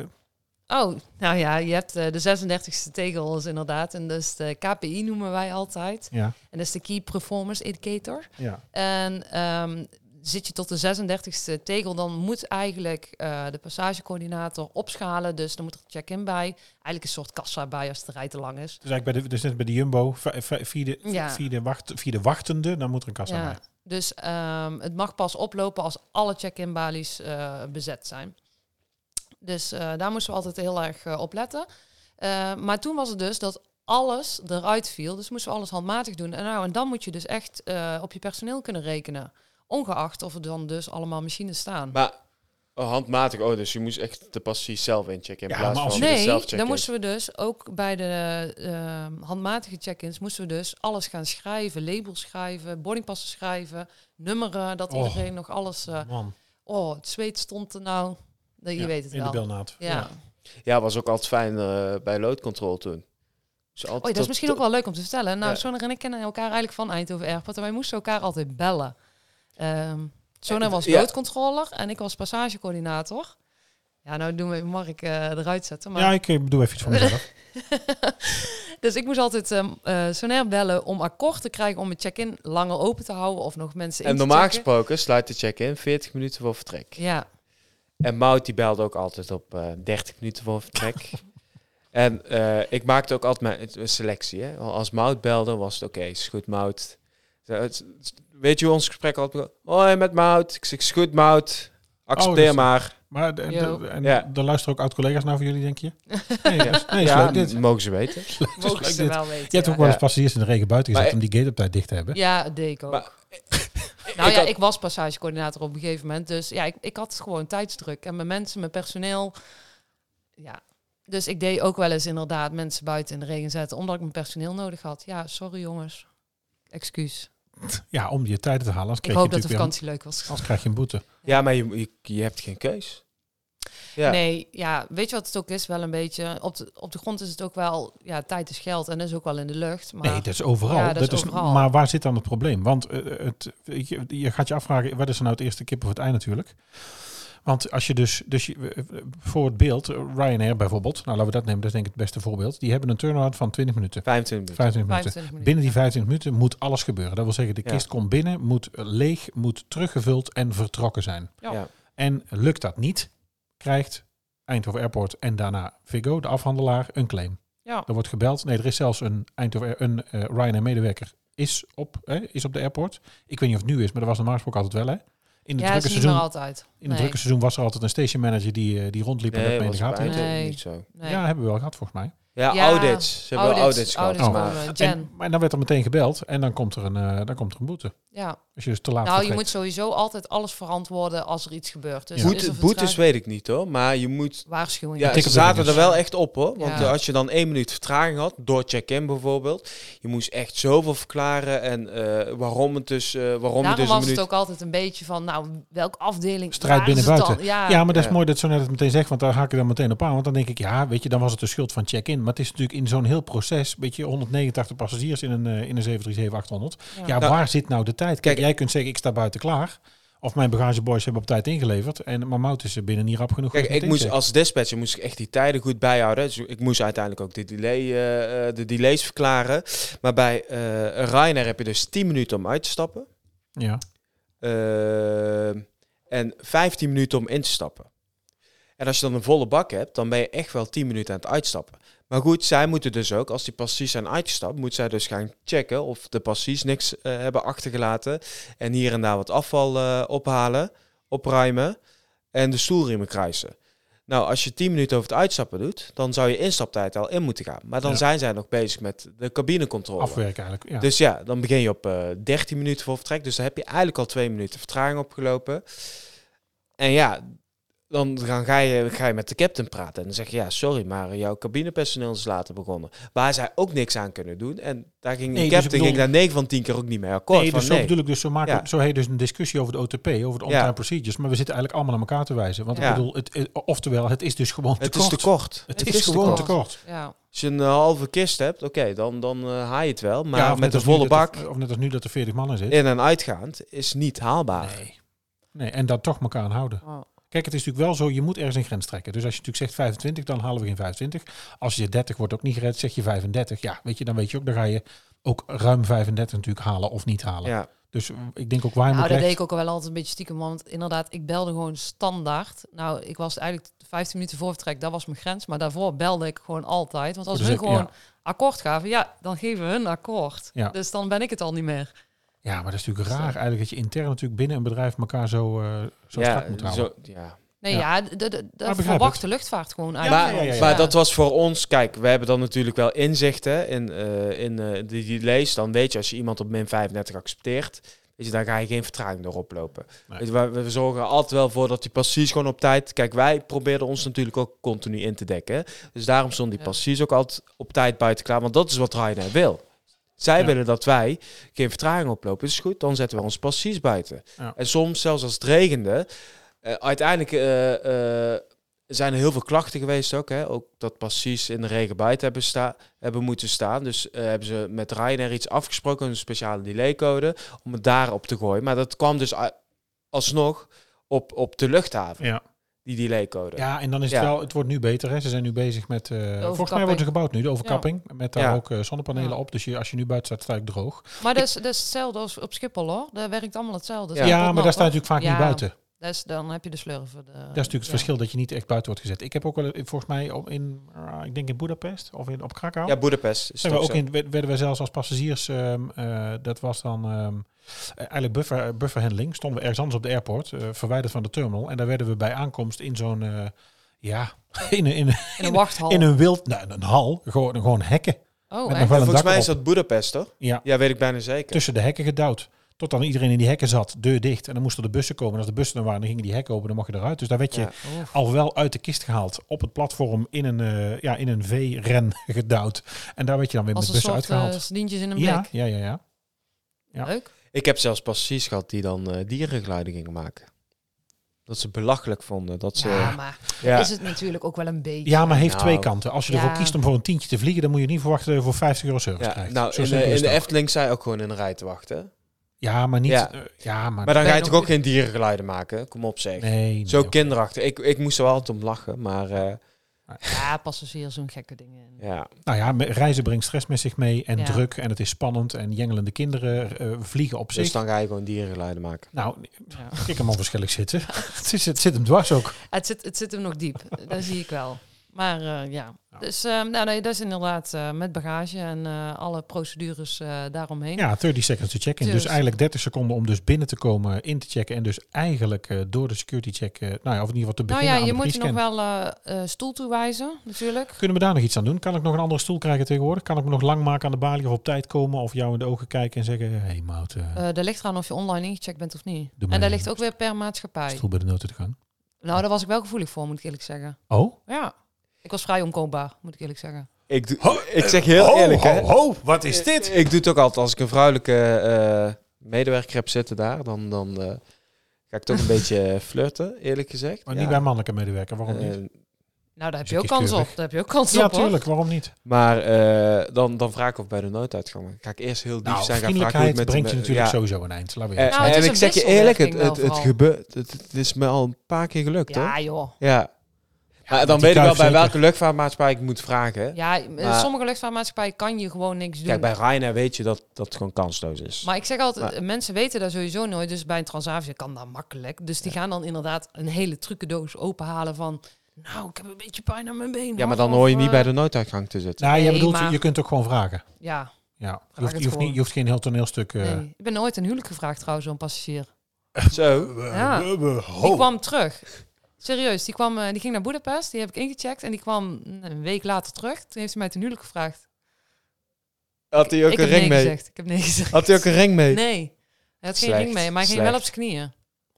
S2: Oh, nou ja, je hebt eh, de 36e tegel is inderdaad, en dus de KPI noemen wij altijd,
S3: ja,
S2: en dat is de Key Performance Indicator.
S3: ja.
S2: En ehm, zit je tot de 36e tegel, dan moet eigenlijk eh, de passagecoördinator opschalen. Dus dan moet er een check-in bij. Eigenlijk een soort kassa bij als de rij te lang is.
S3: Dus eigenlijk bij de, dus net bij de Jumbo, v- v- vierde,
S2: Ja.
S3: vierde, wacht, vierde wachtende, dan moet er een kassa bij.
S2: Dus ehm, het mag pas oplopen als alle check-in balies eh, bezet zijn. Dus eh, daar moesten we altijd heel erg eh, op letten. Eh, maar toen was het dus dat alles eruit viel. Dus moesten we alles handmatig doen. En, nou, en dan moet je dus echt eh, op je personeel kunnen rekenen. Ongeacht of er dan dus allemaal machines staan.
S5: Maar oh, handmatig, oh, dus je moest echt de passie zelf inchecken in
S3: Ja,
S5: plaats
S3: maar als
S5: van
S3: je
S5: de
S2: Nee,
S5: zelf checken.
S2: dan moesten we dus ook bij de ehm, handmatige check-ins moesten we dus alles gaan schrijven, labels schrijven, boardingpassen schrijven, nummeren, dat
S3: Oh.
S2: iedereen nog alles. eh,
S3: Man,
S2: oh, het zweet stond er nou. Nee, Je
S3: Ja,
S2: weet het
S3: in
S2: wel.
S3: de belnaad.
S2: ja.
S5: Ja, was ook altijd fijn eh, bij load control toen. Dus altijd
S2: Oh, dat is
S5: tot-
S2: misschien ook wel leuk om te vertellen. Nou,
S5: Ja.
S2: Sonar en ik kennen elkaar eigenlijk van Eindhoven Airport en wij moesten elkaar altijd bellen. Ehm Sonar was
S5: Ja.
S2: loodcontroller en ik was passagecoördinator. Ja, nou doen we Mark eh, eruit zetten. Maar
S3: ja, ik eh, doe even iets voor mezelf.
S2: Dus ik moest altijd ehm eh, Sonair bellen om akkoord te krijgen om mijn check-in langer open te houden of nog mensen in
S5: En
S2: te
S5: normaal
S2: checken.
S5: gesproken sluit de check-in 40 minuten voor vertrek.
S2: Ja,
S5: En Mout die belde ook altijd op eh 30 minuten voor vertrek. en eh, ik maakte ook altijd mijn een selectie. Hè? Al- Als Mout belde, was het oké, is goed Mout. Zo, het is- het is- Weet je hoe ons gesprek altijd begon? Hoi, met Mout. Ik zeg, is goed Mout. Accepteer
S3: dus-
S5: maar.
S3: Maar de,
S2: Yo.
S3: de- en
S5: Ja.
S3: daar luisteren ook oud-collega's naar voor jullie, denk je? Nee, dat is- nee, is
S5: ja,
S3: leuk dit.
S5: m- mogen ze weten.
S3: is
S2: mogen
S3: leuk
S2: ze
S3: dit.
S2: wel weten.
S3: Je hebt
S2: ja.
S3: ook wel eens
S5: Ja.
S3: passagiers in de regen buiten gezet
S5: Maar-
S3: om die gate op tijd dicht te hebben.
S2: Ja, dat deed ik ook.
S5: Maar-
S2: nou
S5: ik
S2: ja,
S5: had-
S2: ik was passagecoördinator op een gegeven moment. Dus ja, ik, ik had gewoon tijdsdruk. En mijn mensen, mijn personeel. Ja. Dus ik deed ook wel eens inderdaad mensen buiten in de regen zetten. Omdat ik mijn personeel nodig had. Ja, sorry jongens. Excuus.
S3: Ja, om je tijden te halen. Anders
S2: Ik
S3: krijg,
S2: hoop
S3: je,
S2: dat de
S3: natuurlijk
S2: vakantie leuk was.
S3: weer, anders krijg je een boete.
S5: Ja, maar je, je, je hebt geen keus. Ja.
S2: Nee, ja, weet je wat het ook is? Wel een beetje. Op de, op de grond is het ook wel. Ja, tijd is geld en dat is ook wel in de lucht. Maar
S3: Nee, dat is overal.
S2: Ja, dat is overal.
S3: Maar waar zit dan het eh, probleem? Want eh, het, je, je gaat je afvragen, wat is er nou het eerste kip of het ei natuurlijk? Want als je dus, dus je- eh, eh, voor het beeld, eh, Ryanair bijvoorbeeld, nou laten we dat nemen, dat is denk ik het beste voorbeeld. Die hebben een turnaround van 20 minuten,
S5: 25 minuten.
S3: 25 minuten.
S2: 25 minuten.
S3: Binnen die 25 minuten moet alles gebeuren. Dat wil zeggen, de
S5: Ja.
S3: kist komt binnen, moet eh, leeg, moet teruggevuld en vertrokken zijn.
S2: Ja.
S5: Ja.
S3: En lukt dat niet, krijgt Eindhoven Airport en daarna Vigo, de afhandelaar, een claim.
S2: Ja.
S3: Er wordt gebeld. Nee, er is zelfs een, Eindhoven, een eh, Ryanair-medewerker is op, hè, is op de airport. Ik weet niet of het nu is, maar dat was normaal gesproken altijd wel, hè? In het
S2: Ja,
S3: drukke
S2: is niet meer
S3: seizoen
S2: altijd.
S3: in het
S2: Nee,
S3: drukke seizoen was er altijd een station manager die, eh, die rondliep en dat
S5: Nee,
S3: mee in de
S5: was bij
S3: gaten. hield.
S5: Eindhoven
S2: Nee.
S5: niet zo.
S2: nee.
S3: Ja, hebben we wel gehad volgens mij.
S5: Ja,
S2: Ja,
S5: audits. Ze hebben wel audits, gehad.
S3: audits
S5: maar-
S2: komen.
S3: En,
S2: Jan.
S3: maar dan werd er meteen gebeld en dan komt er een, eh, dan komt er een boete.
S2: Ja.
S3: Als je dus te laat
S2: Nou, je
S3: vertrekt.
S2: moet sowieso altijd alles verantwoorden als er iets gebeurt. Dus
S3: Ja.
S2: is
S5: Boete-
S2: er
S5: boetes
S2: vertraging-
S5: weet ik niet hoor, maar je moet...
S2: waarschuwing.
S5: Ja, ze
S3: ticket
S5: zaten er
S3: beginners.
S5: wel echt op hoor. Want
S2: Ja.
S5: eh, als je dan één minuut vertraging had, door check-in bijvoorbeeld, je moest echt zoveel verklaren en eh, waarom het dus, eh, waarom het
S2: Daarom
S5: dus een
S2: was
S5: minuut...
S2: het ook altijd een beetje van, nou, welke afdeling
S3: Strijd
S2: waren ze dan?
S3: binnen-buiten.
S2: Ja,
S3: Ja, maar dat is
S5: Ja.
S3: mooi dat zo net het meteen zegt, want daar haak ik dan meteen op aan. Want dan denk ik, ja, weet je, dan was het de schuld van check-in. Maar het is natuurlijk in zo'n heel proces, weet je, 189 passagiers in een, eh, in een 737-800. Ja,
S2: Ja.
S5: Nou,
S3: waar zit nou de tijd? Kijk,
S5: kijk,
S3: jij kunt zeggen, ik sta buiten klaar. Of mijn bagageboys hebben op tijd ingeleverd. En, maar Mout is er binnen niet rap genoeg.
S5: Kijk,
S3: geweest met
S5: ik moest
S3: inchecken.
S5: als dispatcher moest ik echt die tijden goed bijhouden. Dus ik moest uiteindelijk ook de, delay, eh, eh, de delays verklaren. Maar bij eh Ryanair heb je dus 10 minuten om uit te stappen.
S3: Ja.
S5: eh, en 15 minuten om in te stappen. En als je dan een volle bak hebt, dan ben je echt wel 10 minuten aan het uitstappen. Maar goed, zij moeten dus ook, als die passies zijn uitgestapt, moeten zij dus gaan checken of de passies niks eh, hebben achtergelaten. En hier en daar wat afval eh, ophalen, opruimen en de stoelriemen kruisen. Nou, als je 10 minuten over het uitstappen doet, dan zou je instaptijd al in moeten gaan. Maar dan
S3: Ja.
S5: zijn zij nog bezig met de cabinecontrole.
S3: Afwerken eigenlijk. Ja.
S5: Dus ja, dan begin je op eh 13 minuten voor vertrek. Dus dan heb je eigenlijk al twee minuten vertraging opgelopen. En ja, dan gaan- ga je, ga je met de captain praten. En dan zeg je, ja, sorry, maar jouw cabinepersoneel is later begonnen. Waar zij ook niks aan kunnen doen. En daar ging de
S3: Nee, dus ik
S5: captain
S3: bedoel-
S5: ging daar 9 van 10 keer ook niet mee akkoord.
S3: nee,
S5: van,
S3: dus zo
S5: nee.
S3: bedoel ik dus, zo, maken,
S5: Ja.
S3: zo heet dus een discussie over de OTP, over de on-time
S5: Ja.
S3: procedures. Maar we zitten eigenlijk allemaal naar elkaar te wijzen. Want ik
S5: Ja.
S3: bedoel, het, eh, oftewel, het is dus gewoon te
S5: het is
S3: kort.
S5: te kort.
S3: Het, is, gewoon te kort.
S2: Ja.
S5: Als je een eh, halve kist hebt, oké, dan, dan eh, haal je het wel. Maar
S3: Ja, of net
S5: met een
S3: als nu
S5: volle
S3: dat er-
S5: bak,
S3: of net als nu dat er 40 man in zit.
S5: in en uitgaand, is niet haalbaar.
S3: Nee. nee. En daar toch elkaar aan houden.
S2: Oh.
S3: Kijk, het is natuurlijk wel zo, je moet ergens een grens trekken. Dus als je natuurlijk zegt 25, dan halen we geen 25. Als je 30 wordt ook niet gered, zeg je 35. Ja, weet je, dan weet je ook, dan ga je ook ruim 35 natuurlijk halen of niet halen.
S5: Ja,
S3: Dus eh, ik denk ook waar je
S2: Nou, dat
S3: moet recht-
S2: deed ik ook wel altijd een beetje stiekem. Want inderdaad, ik belde gewoon standaard. Nou, ik was eigenlijk 15 minuten voor vertrek, dat was mijn grens. Maar daarvoor belde ik gewoon altijd. Want als
S3: Dus
S2: hun
S3: ik-
S2: gewoon
S3: ja.
S2: akkoord gaven, ja, dan geven hun akkoord.
S3: Ja.
S2: Dus dan ben ik het al niet meer.
S3: Ja, maar dat is
S2: Dus,
S3: natuurlijk
S2: eh,
S3: raar eigenlijk dat je intern natuurlijk binnen een bedrijf elkaar zo, eh zo strak moet
S5: ja,
S3: houden.
S5: zo, ja,
S2: Nee,
S3: Ja.
S2: ja, d- d- d- dat
S3: begrijp
S2: verwacht
S3: het.
S2: de luchtvaart gewoon
S3: Ja,
S2: eigenlijk.
S5: maar,
S3: ja, ja, ja.
S5: maar
S2: Ja.
S5: dat was voor ons, kijk, we hebben dan natuurlijk wel inzichten in, eh, in eh, de delays. Dan weet je, als je iemand op min 35 accepteert, weet je, dan ga je geen vertraging door oplopen.
S3: Nee.
S5: Weet je, we, we zorgen er altijd wel voor dat die passies gewoon op tijd... Kijk, wij probeerden ons natuurlijk ook continu in te dekken. Dus daarom stonden die
S2: Ja.
S5: passies ook altijd op tijd buiten klaar. Want dat is wat Ryanair wil. Zij
S3: Ja.
S5: willen dat wij geen vertraging oplopen. Is goed, dan zetten we ons passies buiten.
S3: Ja.
S5: En soms, zelfs als het regende... eh, uiteindelijk eh, eh, zijn er heel veel klachten geweest ook. Hè? Ook dat passies in de regen buiten hebben, sta hebben moeten staan. Dus eh, hebben ze met Ryanair iets afgesproken, een speciale delaycode, om het daarop te gooien. Maar dat kwam dus a- alsnog op, op de luchthaven,
S3: Ja.
S5: die delaycode.
S3: ja, en dan is het
S5: Ja.
S3: wel, het wordt nu beter. Hè. Ze zijn nu bezig met, eh, volgens mij
S2: overkapping.
S3: wordt er gebouwd nu, de overkapping. Met daar
S5: Ja.
S3: ook eh, zonnepanelen
S2: Ja.
S3: op. Dus je, als je nu buiten staat, sta ik droog.
S2: Maar dat is, dat is hetzelfde als op Schiphol hoor. Daar werkt allemaal hetzelfde.
S3: Ja,
S5: Ja.
S3: maar daar staat natuurlijk vaak
S2: Ja. eh,
S3: niet buiten.
S2: Dat is, dan heb je de slurven. De, dat is
S3: Dat is natuurlijk het verschil dat je niet echt buiten wordt gezet. Ik heb ook wel eh, volgens mij op in, ah, ik denk in Budapest of in, op Krakau.
S5: Ja, Boedapest. is
S3: zijn we
S5: het
S3: ook
S5: zo.
S3: in, werd- werden we zelfs als passagiers, ehm, eh, dat was dan ehm, eh, eigenlijk buffer, bufferhandling, stonden we ergens anders op de airport, eh, verwijderd van de terminal. En daar werden we bij aankomst in zo'n, eh, ja, in, een- in, een-
S2: In een wachthal.
S3: in een wild, nou, een hal, gewoon, gewoon hekken.
S2: oh, echt?
S3: met nog wel een
S5: Volgens
S3: dak
S5: mij is
S3: erop.
S5: dat Boedapest, toch?
S3: Ja,
S5: Ja, weet ik bijna zeker.
S3: tussen de hekken gedouwd. Tot dan iedereen in die hekken zat, deur dicht. En dan moesten de bussen komen. En als de bussen er waren, dan gingen die hekken open, dan mocht je eruit. Dus daar werd je
S5: Ja.
S2: Oh.
S3: al wel uit de kist gehaald. Op het platform in een, eh, ja, in een V-ren gedouwd. En daar werd je dan weer
S2: Als
S3: met
S2: een
S3: bussen
S2: soort eh
S3: uitgehaald.
S2: slientjes in een blik.
S3: ja, ja, ja, ja. ja.
S2: Leuk.
S5: Ik heb zelfs passies gehad die dan eh dierengeleiding gingen maken. Dat ze belachelijk vonden. Dat ze,
S2: Ja,
S5: ja,
S2: maar
S5: ja,
S2: is het natuurlijk ook wel een beetje.
S3: Ja, maar heeft
S5: Nou.
S3: twee kanten. Als je ervoor
S2: Ja.
S3: kiest om voor een tientje te vliegen, dan moet je niet verwachten dat je voor 50 euro service krijgt.
S5: nou,
S3: Zo
S5: in,
S3: simpel
S5: de,
S3: is
S5: in de
S3: dat.
S5: Efteling zei ook gewoon in de rij te wachten.
S3: Ja, maar niet...
S5: Ja.
S3: eh, ja, maar...
S5: Maar dan ga je
S2: nog-
S5: toch ook geen dierengeluiden maken? Kom op zeg.
S3: nee, nee,
S5: Zo
S3: joh.
S5: kinderachtig. Ik, ik moest er wel altijd om lachen, maar eh,
S2: Ja, passagiers doen gekke dingen. in.
S5: ja. dus
S3: Nou ja, me- reizen brengt stress met zich mee en
S2: Ja.
S3: druk en het is spannend en jengelende kinderen eh, vliegen op zich.
S5: Dus dan ga je gewoon dierengeluiden maken.
S3: Nou,
S2: Ja.
S3: ik hem onverschillig zitten. het, is, het zit hem dwars ook.
S2: Het, zit, het zit hem nog diep, dat zie ik wel. Maar eh, ja, dus eh, nou, nee, dat is inderdaad eh, met bagage en eh, alle procedures eh, daaromheen.
S3: Ja, 30 seconds to check-in. Dus
S2: Dus.
S3: eigenlijk 30 seconden om dus binnen te komen, in te checken. En dus eigenlijk eh, door de security check, eh, nou ja, of in ieder geval te
S2: nou
S3: beginnen
S2: ja,
S3: aan
S2: je
S3: de
S2: moet er nog
S3: pre-scan.
S2: wel eh, eh, stoel toewijzen, natuurlijk.
S3: Kunnen we daar nog iets aan doen? Kan ik nog een andere stoel krijgen tegenwoordig? Kan ik me nog lang maken aan de balie of op tijd komen? Of jou in de ogen kijken en zeggen, hé hey, maat, eh,
S2: Eh dat ligt eraan of je online ingecheckt bent of niet.
S3: Doe
S2: en
S3: maar.
S2: dat ligt ook weer per maatschappij.
S3: stoel bij de nooduitgang.
S2: Nou, daar was ik wel gevoelig voor, moet ik eerlijk zeggen.
S3: Oh?
S2: Ja, ik was vrij onkoopbaar, moet ik eerlijk zeggen.
S5: Ik, doe, ik zeg heel eerlijk, hè. Eh,
S3: wat
S5: Ik, ik doe het ook altijd. Als ik een vrouwelijke eh, medewerker heb zitten daar, dan, dan eh, ga ik toch een beetje flirten, eerlijk gezegd.
S3: Maar Oh,
S5: Ja.
S3: niet bij mannelijke medewerker, waarom niet?
S5: Eh,
S2: Nou, daar heb
S3: Is
S2: je
S3: ook
S2: ook kans op.
S3: kieskeurig.
S2: Daar heb je ook kans
S3: ja,
S2: op, hoor.
S3: tuurlijk, waarom niet?
S5: maar eh, dan, dan vraag ik of bij de nooduitgang. Ga ik eerst heel lief
S3: Nou,
S5: zijn. Ga ik vragen hoe
S3: vriendelijkheid
S5: het met
S3: brengt je
S5: met-
S3: natuurlijk
S5: ja.
S3: sowieso een eind. Laten we
S5: Eh,
S3: eerlijk
S2: Nou, het
S5: en
S2: is
S5: ik
S2: een
S5: zeg je eerlijk, het,
S2: wisselwerking
S5: het,
S2: wel
S5: het
S2: vooral.
S5: gebeurt. Het, het is me al een paar keer gelukt, hoor.
S2: Ja, joh.
S5: Ja. Maar dan
S3: die
S5: weet ik wel
S3: kuif
S5: bij
S3: zeker.
S5: welke luchtvaartmaatschappij ik moet vragen.
S2: Ja, eh,
S5: Maar-
S2: sommige luchtvaartmaatschappijen kan je gewoon niks doen.
S5: Kijk, bij Ryanair weet je dat dat gewoon kansloos is.
S2: Maar ik zeg altijd, eh, mensen weten dat sowieso nooit. Dus bij een Transavia kan dat makkelijk. Dus die gaan dan inderdaad een hele trucendoos openhalen van... Nou, ik heb een beetje pijn aan mijn been.
S5: ja, maar
S2: man,
S5: dan hoor je
S2: of,
S5: niet
S2: eh,
S5: bij de nooduitgang te zitten.
S3: zijn. Nou, je
S2: Nee,
S3: bedoelt,
S2: maar-
S3: je kunt ook gewoon vragen.
S2: Ja,
S3: Ja, je hoeft,
S2: het
S3: je hoeft, niet,
S2: gewoon.
S3: je hoeft geen heel toneelstuk... eh,
S2: nee. Ik ben nooit een huwelijk gevraagd trouwens, zo'n passagier.
S5: Zo.
S2: Ja. Die kwam terug. Serieus, die, kwam, eh, die ging naar Boedapest. Die heb ik ingecheckt. En die kwam eh, een week later terug. Toen heeft hij mij ten huwelijk gevraagd.
S5: Had hij ook
S2: ik
S5: een
S2: heb nee
S5: ring mee?
S2: gezegd. Ik heb nee gezegd.
S5: Had hij ook een ring mee?
S2: Nee. Hij had geen
S5: Slecht,
S2: ring mee, maar hij ging
S5: slecht.
S2: wel op zijn knieën.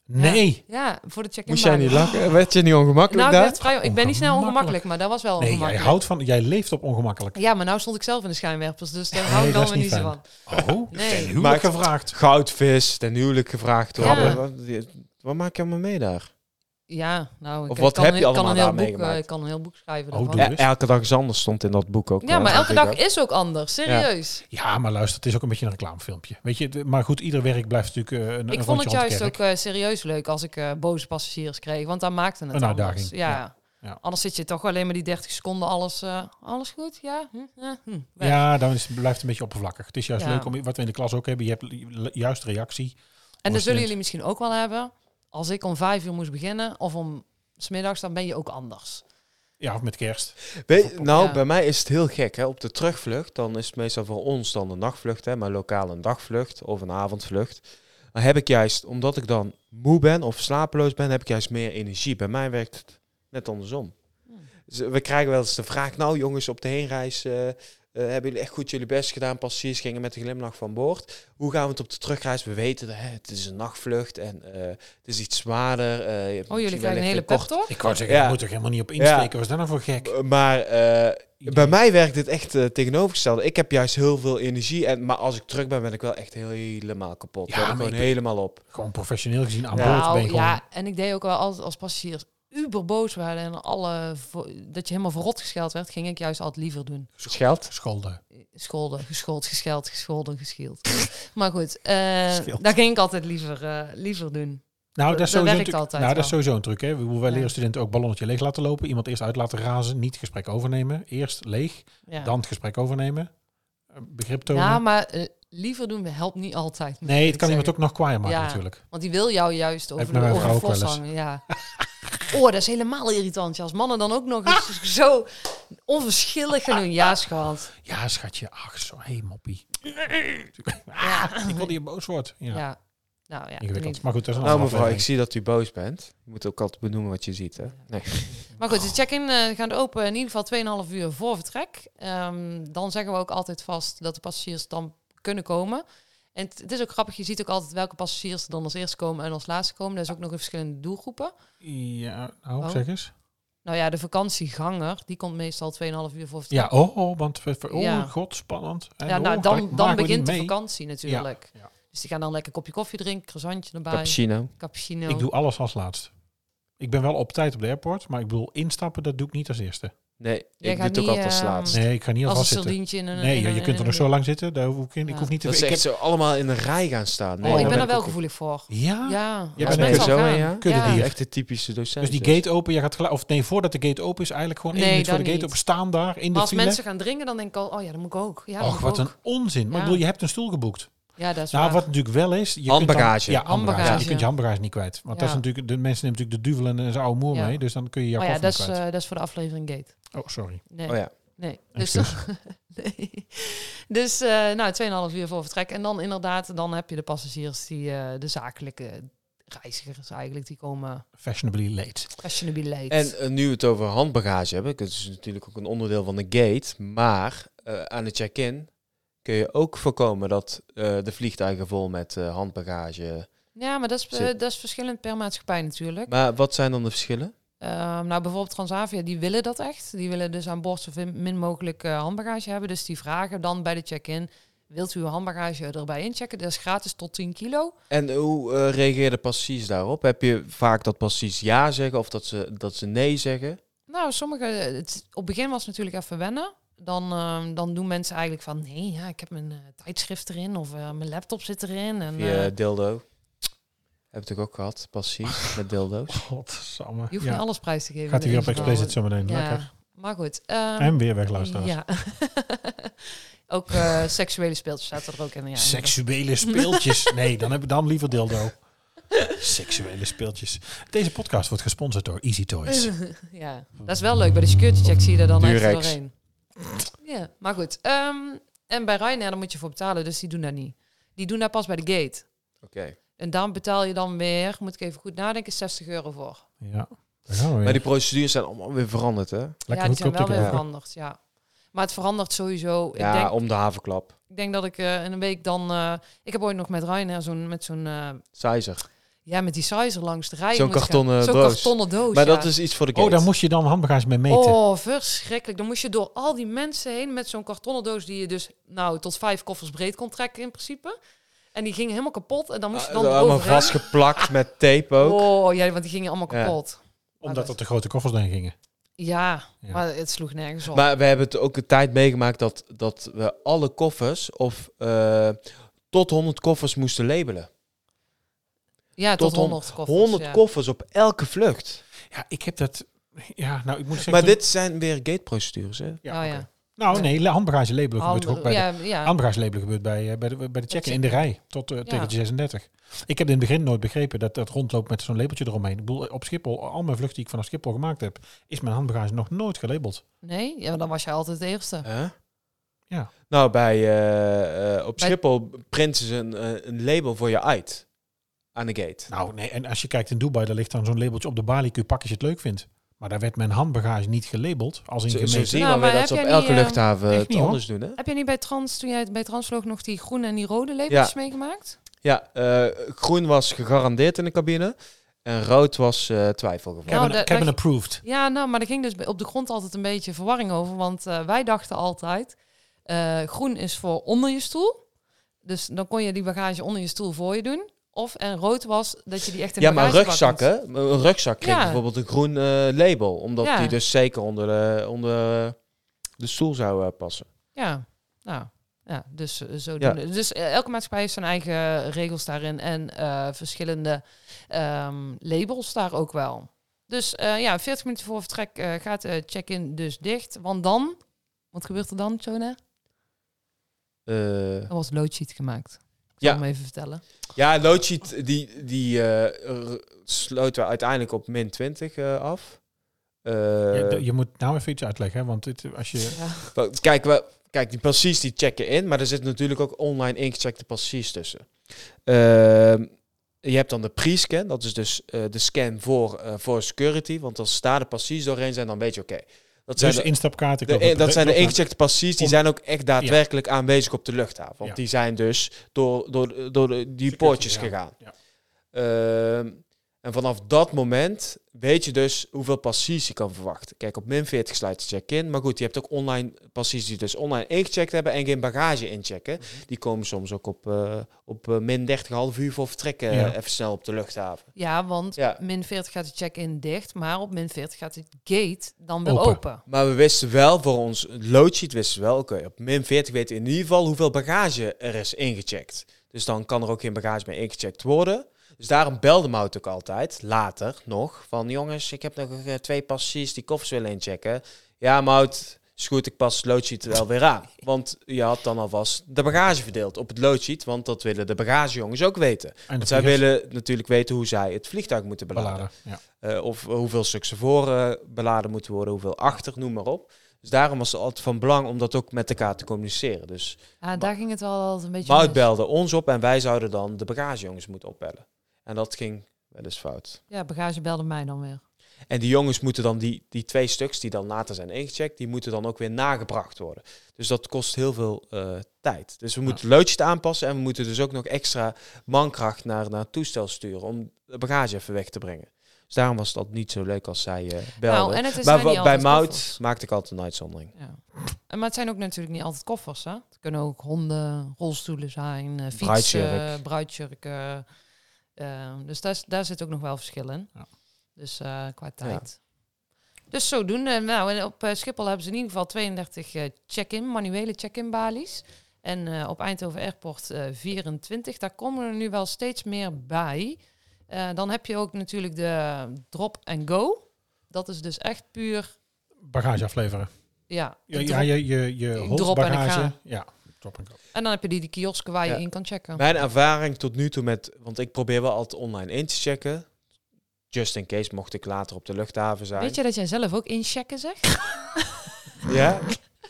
S3: Nee.
S2: Ja, voor de check-in.
S5: Moest jij
S2: baan.
S5: niet lachen? Werd je niet ongemakkelijk
S2: Nou, ik,
S5: daar?
S2: werd vrij, ik ben niet snel ongemakkelijk,
S3: Ongemakkelijk.
S2: maar dat was wel
S3: Nee, jij
S2: ongemakkelijk.
S3: houdt van, jij leeft op ongemakkelijk.
S2: Ja, maar nou stond ik zelf in de schijnwerpers, dus daar
S3: Nee,
S2: hou ik
S3: dat
S2: dan
S3: is
S2: weer
S3: niet
S2: niet zo
S3: fijn.
S2: van.
S3: Oh,
S2: Nee.
S3: huwelijk
S5: Maar-
S3: gevraagd.
S5: Goudvis, ten huwelijk gevraagd. hoor.
S2: Ja.
S5: Wat, wat maak je allemaal mee daar?
S2: Ja, nou, ik
S5: Of wat
S2: kan,
S5: heb
S2: een-
S5: je allemaal
S2: kan een heel
S5: daar
S2: boek, eh,
S5: meegemaakt?
S2: Ik kan een heel boek schrijven
S3: Oh,
S2: daarvan. Ja,
S3: doe.
S5: Ja,
S3: Toerist.
S5: elke dag is anders stond in dat boek ook. wel,
S2: maar elke
S5: zag ik
S2: dag
S5: ook.
S2: is ook anders, serieus.
S3: Ja, maar luister, het is ook een beetje een reclamefilmpje. Weet je, de- maar goed, ieder werk blijft natuurlijk eh, een, een
S2: Ik vond
S3: rondje
S2: het
S3: rond de
S2: juist
S3: kerk.
S2: ook eh, serieus leuk als ik eh, boze passagiers kreeg, want daar maakte het
S3: Een
S2: anders.
S3: uitdaging,
S2: Ja.
S3: ja. Ja.
S2: Anders zit je toch alleen maar die 30 seconden alles, eh, alles goed, ja? Hm? Ja, hm. Weg.
S3: Ja, dan is, blijft het een beetje oppervlakkig. Het is juist
S2: Ja.
S3: leuk om wat we in de klas ook hebben. Je hebt li- juist reactie.
S2: En dat zullen
S3: Constant.
S2: jullie misschien ook wel hebben. Als ik om vijf uur moest beginnen of om smiddags, dan ben je ook anders.
S3: Ja, of met kerst.
S5: Weet- nou,
S2: Ja.
S5: bij mij is het heel gek. Hè? Op de terugvlucht, dan is het meestal voor ons dan een nachtvlucht, hè? maar lokaal een dagvlucht of een avondvlucht. Dan heb ik juist, omdat ik dan moe ben of slapeloos ben, heb ik juist meer energie. Bij mij werkt het net andersom. Dus, eh, we krijgen wel eens de vraag, nou jongens, op de heenreis eh, eh, hebben jullie echt goed jullie best gedaan. Passagiers gingen met een glimlach van boord. Hoe gaan we het op de terugreis? We weten, hè, het is een nachtvlucht en eh, het is iets zwaarder. eh, je hebt
S2: Oh,
S5: misschien
S2: jullie krijgen een
S5: wellicht
S2: hele
S5: kort-
S2: pep toch?
S3: Ik wou zeggen,
S5: Ja.
S3: daar moet ik helemaal niet op insteken. Was dat nou voor gek?
S5: Eh, Maar eh, bij mij werkt het echt eh, tegenovergestelde. Ik heb juist heel veel energie. En, maar als ik terug ben, ben ik wel echt helemaal kapot.
S3: Ja,
S5: ben ik
S3: maar
S5: gewoon
S3: ik-
S5: helemaal op.
S3: Gewoon professioneel gezien aan
S5: Ja.
S3: boord ben
S2: Nou
S3: je gewoon...
S2: ja, en ik deed ook wel altijd als passagiers uber boos waren en alle vo- dat je helemaal verrot gescheld werd, ging ik juist altijd liever doen.
S5: Scheld?
S3: Scholden.
S2: Scholden, geschoold, gescheld, gescholden, geschield. maar goed, eh
S3: Schild.
S2: dat ging ik altijd liever, eh, liever doen.
S3: Nou,
S2: Dat-
S3: dat is
S2: dat
S3: sowieso,
S2: werkt
S3: natuurlijk-
S2: altijd
S3: nou, dat is
S2: wel.
S3: sowieso een truc. Hè? We, wij
S2: Ja.
S3: leren studenten ook ballonnetje leeg laten lopen. Iemand eerst uit laten razen. Niet het gesprek overnemen. Eerst leeg,
S2: Ja,
S3: dan het gesprek overnemen. Eh, Begrip tonen.
S2: ja maar eh, liever doen helpt niet altijd. moet
S3: nee,
S2: ik
S3: het kan iemand
S2: zeggen.
S3: ook nog kwaaier maken
S2: Ja.
S3: natuurlijk.
S2: Want die wil jou juist over
S3: Heeft
S2: de
S3: mijn
S2: over de
S3: vrouw ook
S2: vlos
S3: wel eens.
S2: hangen. Ja. Oh, dat is helemaal irritant. Ja, als mannen dan ook nog eens zo onverschillig gaan doen. Ja, schat.
S3: Ja, schatje. Ach, zo. Hé, hey, moppie. Ah, ik wil die je boos wordt. Ja,
S2: Ja. Nou ja.
S3: ingewikkeld.
S2: niet-
S3: Maar goed, dat is een
S5: Nou
S3: andere
S5: mevrouw, ik
S3: aflevering.
S5: zie dat u boos bent. Je moet ook altijd benoemen wat je ziet, hè? Nee.
S2: Maar goed, de check-in eh, gaat open in ieder geval 2,5 uur voor vertrek. Ehm, dan zeggen we ook altijd vast dat de passagiers dan kunnen komen. En het, het is ook grappig, je ziet ook altijd welke passagiers er dan als eerste komen en als laatste komen. Dat is ook nog in verschillende doelgroepen.
S3: Ja, nou,
S2: Oh.
S3: zeg eens.
S2: Nou ja, de vakantieganger, die komt meestal 2,5 uur voor vertrek.
S3: Ja, oh, oh want... we- we- Oh,
S2: Ja.
S3: god, spannend. En
S2: Ja, nou,
S3: oh,
S2: dan,
S3: gelijk
S2: dan
S3: maken we die
S2: begint de
S3: mee.
S2: vakantie natuurlijk.
S3: Ja, ja.
S2: Dus die gaan dan lekker een kopje koffie drinken, croissantje erbij,
S5: Cappuccino.
S2: cappuccino.
S3: Ik doe alles als laatst. Ik ben wel op tijd op de airport, maar ik bedoel, instappen, dat doe ik niet als eerste.
S5: Nee,
S2: Jij
S5: ik doe
S2: gaat
S5: het ook
S2: niet,
S5: altijd als
S2: ehm,
S5: laatst.
S3: Nee, ik ga
S2: Als
S3: niet
S2: een
S3: alvast zitten.
S2: sardientje in een...
S3: Nee,
S2: in
S3: ja,
S2: een-
S3: je kunt er nog
S2: in
S3: zo
S2: een-
S3: lang zitten. Daar hoef ik, in- ik
S2: Ja.
S3: hoef niet te...
S5: Dat ze
S3: ik
S5: echt zo allemaal in een rij gaan staan. Nee,
S3: Oh,
S2: Nee,
S5: daar
S2: ik ben
S5: ben
S2: er wel
S5: ook-
S2: gevoelig voor.
S3: Ja?
S2: Ja,
S3: Jij
S2: als
S3: bent
S2: mensen al
S5: ook zo,
S2: gaan.
S5: ja?
S3: Kuddedier.
S5: Echt de typische docent.
S3: Dus die
S5: zelfs.
S3: gate open, je gaat gelijk... Of nee, voordat de gate open is, eigenlijk gewoon één
S2: Nee,
S3: minuut voor de
S2: dan
S3: gate
S2: niet.
S3: open staan daar in
S2: Maar
S3: de
S2: als
S3: file.
S2: mensen gaan drinken, dan denk ik al, oh ja, dat moet ik ook. Ja, dat
S3: Och,
S2: moet
S3: wat
S2: ik
S3: een
S2: ook.
S3: onzin. Maar ik
S2: Ja.
S3: bedoel, je hebt een stoel geboekt.
S2: Ja, dat is
S3: Nou,
S2: waar.
S3: wat natuurlijk wel is... Je kunt dan-
S5: Handbagage.
S3: ja, handbagage.
S2: Handbagage.
S3: Je kunt je handbagage niet kwijt. Want dat is
S2: Ja.
S3: natuurlijk, de mensen nemen natuurlijk de duvel en eh, zijn oude moer
S2: Ja.
S3: mee. Dus dan kun je je
S2: oh ja,
S3: koffer
S2: dat
S3: niet
S2: is,
S3: kwijt.
S2: eh, dat is voor de aflevering Gate.
S3: Oh, sorry.
S2: Nee,
S5: Oh ja.
S2: nee. Dus,
S3: Excuus.
S2: nee. dus eh nou, 2,5 uur voor vertrek. En dan inderdaad, dan heb je de passagiers, die, eh, de zakelijke reizigers eigenlijk, die komen
S3: Fashionably late.
S2: fashionably late.
S5: En eh, nu we het over handbagage hebben, dat is natuurlijk ook een onderdeel van de gate. Maar eh, aan de check-in kun je ook voorkomen dat eh, de vliegtuigen vol met eh, handbagage.
S2: ja, maar dat is, eh,
S5: Zit.
S2: dat is verschillend per maatschappij natuurlijk.
S5: Maar wat zijn dan de verschillen?
S2: Ehm, nou, bijvoorbeeld Transavia, die willen dat echt. Die willen dus aan boord zo min min mogelijk eh, handbagage hebben. Dus die vragen dan bij de check-in, wilt u uw handbagage erbij inchecken? Dat is gratis tot 10 kilo.
S5: En hoe eh reageerden passagiers daarop? Heb je vaak dat passagiers ja zeggen of dat ze, dat ze nee zeggen?
S2: Nou, sommige, het, op het begin was het natuurlijk even wennen. Dan, ehm, dan doen mensen eigenlijk van, nee, ja, ik heb mijn eh, tijdschrift erin of eh, mijn laptop zit erin. En,
S5: Via
S2: eh,
S5: dildo. Heb ik ook gehad, passagiers met dildo's.
S3: Godsamme.
S2: je hoeft
S3: Ja.
S2: niet alles prijs te geven.
S3: Gaat hij weer
S2: in deze
S3: op
S2: verhalen.
S3: explicit zometeen. Lekker.
S2: Ja, maar goed. ehm,
S3: En weer weg, luisteraars.
S2: Ja. ook eh, seksuele speeltjes zaten er ook in. Ja,
S3: Seksuele speeltjes. Nee, dan heb ik dan liever dildo. Seksuele speeltjes. Deze podcast wordt gesponsord door Easy Toys.
S2: Ja, dat is wel leuk. Bij de security check zie je er dan even
S5: Durex.
S2: doorheen. Ja, maar goed. ehm, en bij Ryanair, daar moet je voor betalen, dus die doen dat niet. Die doen dat pas bij de gate.
S5: Oké.
S2: En dan betaal je dan weer, moet ik even goed nadenken, 60 euro voor.
S3: Ja. Daar gaan we weer.
S5: Maar die procedures zijn allemaal weer veranderd, hè?
S2: ja, die
S3: goedkoop
S2: zijn wel weer
S3: te kopen.
S2: veranderd, ja. Maar het verandert sowieso.
S5: Ja,
S2: Ik, denk,
S5: om de havenklap.
S2: ik denk dat ik eh, in een week dan... eh, ik heb ooit nog met Ryanair zo'n... Met zo'n eh,
S5: Sizer.
S2: ja, met die sizer langs de rij.
S5: Zo'n
S2: moet gaan.
S5: kartonnen
S2: Zo'n
S5: doos.
S2: kartonnen doos,
S5: Maar
S2: ja.
S5: dat is iets voor de gate.
S3: Oh, daar moest je dan handbagage mee meten.
S2: Oh, verschrikkelijk. Dan moest je door al die mensen heen met zo'n kartonnen doos die je dus nou tot vijf koffers breed kon trekken in principe. En die gingen helemaal kapot en dan moest je dan
S5: Ah, allemaal
S2: overheen.
S5: vastgeplakt met tape ook.
S2: Oh ja, want die gingen allemaal
S5: Ja.
S2: kapot.
S3: Omdat dat de grote koffers dan gingen.
S2: Ja,
S3: Ja.
S2: maar het sloeg nergens op.
S5: Maar we hebben het ook een tijd meegemaakt dat, dat we alle koffers of eh, tot 100 koffers moesten labelen.
S2: ja, tot,
S5: tot hon-
S2: 100 koffers.
S5: 100
S2: ja.
S5: koffers op elke vlucht.
S3: Ja, ik heb dat... Ja, nou, ik moet zeggen...
S5: maar
S3: toen-
S5: dit zijn weer gateprocedures, hè?
S3: Ja,
S2: Oh,
S3: oké.
S2: ja.
S3: Nou, nee, handbagage labelen gebeurt ook
S2: Handen-
S3: bij de
S2: ja, ja.
S3: Handbagage-labelen gebeurt bij, eh, bij, de, bij de check-in in de rij tot eh, tegentje 36. Ik heb in het begin nooit begrepen dat dat rondloopt met zo'n labeltje eromheen. Ik bedoel, op Schiphol, al mijn vluchten die ik vanaf Schiphol gemaakt heb, is mijn handbagage nog nooit gelabeld.
S2: Nee, ja, dan was jij altijd de eerste.
S5: Huh?
S3: Ja.
S5: Nou, bij, eh, eh, op
S2: Bij-
S5: Schiphol printen ze een, eh, een label voor je uit aan de gate.
S3: Nou, nee, en als je kijkt in Dubai, daar ligt dan zo'n labeltje op de balie. Kun je pakken als je het leuk vindt. Maar daar werd mijn handbagage niet gelabeld, als in
S5: Zo, zo
S3: gemeten.
S5: zie je
S2: Nou,
S5: dan weer
S2: maar
S5: dat ze op
S2: heb jij
S5: elke
S2: niet, eh,
S5: luchthaven
S3: echt
S5: het
S3: niet, hoor.
S5: anders doen, hè?
S2: Heb je niet bij Trans, toen jij bij Trans vloog, nog die groene en die rode lepeltjes meegemaakt?
S5: Ja, eh, groen was gegarandeerd in de cabine en rood was eh twijfelgeval.
S2: Nou,
S3: Cabin,
S2: dat-
S3: cabin
S2: dat-
S3: approved.
S5: Eh,
S2: Ja, nou, maar er ging dus op de grond altijd een beetje verwarring over. Want eh, wij dachten altijd, eh, groen is voor onder je stoel. Dus dan kon je die bagage onder je stoel voor je doen. Of, en rood was dat je die echt in
S5: Ja,
S2: de
S5: maar
S2: bagagebak moest.
S5: rugzakken, een rugzak kreeg
S2: Ja.
S5: bijvoorbeeld een groen eh, label, omdat
S2: Ja.
S5: die dus zeker onder de, onder de stoel zou eh, passen.
S2: Ja, nou, ja, dus eh, zodoende. Dus eh, elke maatschappij heeft zijn eigen regels daarin. En eh, verschillende ehm, labels daar ook wel. Dus eh, ja, 40 minuten voor vertrek eh, gaat de check-in dus dicht. Want dan, wat gebeurt er dan, Jonah?
S5: Eh,
S2: Er wordt loadsheet gemaakt. Ik zal
S5: ja,
S2: hem even vertellen.
S5: ja Loadsheet die, die eh, r- sloten we uiteindelijk op min 20 eh, af. Eh,
S3: je, je moet nou even iets uitleggen, hè, want dit, als je...
S2: Ja.
S5: wa- kijk, we, kijk, die passies die checken in, maar er zitten natuurlijk ook online ingecheckte passies tussen. Ehm, je hebt dan de pre-scan, dat is dus eh, de scan voor, eh, voor security, want als daar de passies doorheen zijn, dan weet je oké. Dat zijn
S3: Dus
S5: de-
S3: instapkaarten...
S5: De- e-
S3: klopt,
S5: dat zijn de
S3: klopt,
S5: ingecheckte passies, die
S3: Om-
S5: zijn ook echt daadwerkelijk aanwezig op de luchthaven. Want
S3: Ja.
S5: die zijn dus door, door, door de- die
S3: Security,
S5: poortjes
S3: ja.
S5: gegaan.
S3: Ja.
S5: Ehm, En vanaf dat moment weet je dus hoeveel passies je kan verwachten. Kijk, op min 40 sluit de check in. Maar goed, je hebt ook online passies die dus online ingecheckt hebben en geen bagage
S3: Mhm.
S5: inchecken. Die komen soms ook op, eh, op eh, min 30, half uur voor vertrekken
S3: Ja.
S5: eh, even snel op de luchthaven.
S2: Ja, want
S5: Ja.
S2: min 40 gaat de check-in dicht, maar op min 40 gaat het gate dan weer
S3: Open.
S2: open.
S5: Maar we wisten wel, voor ons loadsheet wisten we wel, oké, op min 40 weten we in ieder geval hoeveel bagage er is ingecheckt. Dus dan kan er ook geen bagage meer ingecheckt worden. Dus daarom belde Mout ook altijd, later nog, van jongens, ik heb nog eh, twee passies die koffers willen inchecken. Ja, Mout, is goed, ik pas het loadsheet wel weer aan. Want je had dan alvast de bagage verdeeld op het loadsheet, want dat willen de bagagejongens ook weten.
S3: En de
S5: Want zij
S3: vliegers
S5: willen natuurlijk weten hoe zij het vliegtuig moeten beladen.
S3: beladen. Ja.
S5: Eh, of hoeveel stuks er voor eh, beladen moeten worden, hoeveel achter, noem maar op. Dus daarom was het altijd van belang om dat ook met elkaar te communiceren. Dus
S2: Ja, Ah, daar ging het wel altijd een beetje
S5: Mout
S2: mis.
S5: belde ons op en wij zouden dan de bagagejongens moeten opbellen. En dat ging wel eens fout.
S2: Ja, bagage belde mij dan weer.
S5: En die jongens moeten dan die, die twee stuks die dan later zijn ingecheckt, die moeten dan ook weer nagebracht worden. Dus dat kost heel veel eh, tijd. Dus we moeten het loodje aanpassen en we moeten dus ook nog extra mankracht naar, naar het toestel sturen om de bagage even weg te brengen. Dus daarom was dat niet zo leuk als zij eh belden.
S2: Nou, en het is
S5: Maar
S2: zijn niet
S5: wa- bij
S2: altijd
S5: Mout
S2: koffers.
S5: maakte ik altijd een uitzondering.
S2: Ja. En, maar het zijn ook natuurlijk niet altijd koffers, hè? Het kunnen ook honden, rolstoelen zijn, eh, fietsen,
S5: Bruidsjurk.
S2: bruidjurken. Eh, dus daar, daar zit ook nog wel verschil in.
S3: Ja.
S2: Dus eh, qua tijd. Dus zodoende. Nou, en op eh, Schiphol hebben ze in ieder geval 32 eh, check-in, manuele check-in balies. En eh, op Eindhoven Airport eh, 24. Daar komen er nu wel steeds meer bij. Eh, dan heb je ook natuurlijk de drop and go. Dat is dus echt puur...
S3: Bagage afleveren.
S2: Ja,
S3: Ja,
S2: de
S3: ja,
S2: drop-
S3: je, je, je
S2: Drop
S3: holsbagage.
S2: en ik ga.
S3: Ja, drop en go.
S2: En dan heb je die, die kiosken waar je
S5: Ja.
S2: in kan checken.
S5: Mijn ervaring tot nu toe met, want ik probeer wel altijd online in te checken. Just in case mocht ik later op de luchthaven zijn.
S2: Weet je dat jij zelf ook inchecken zegt?
S5: Ja?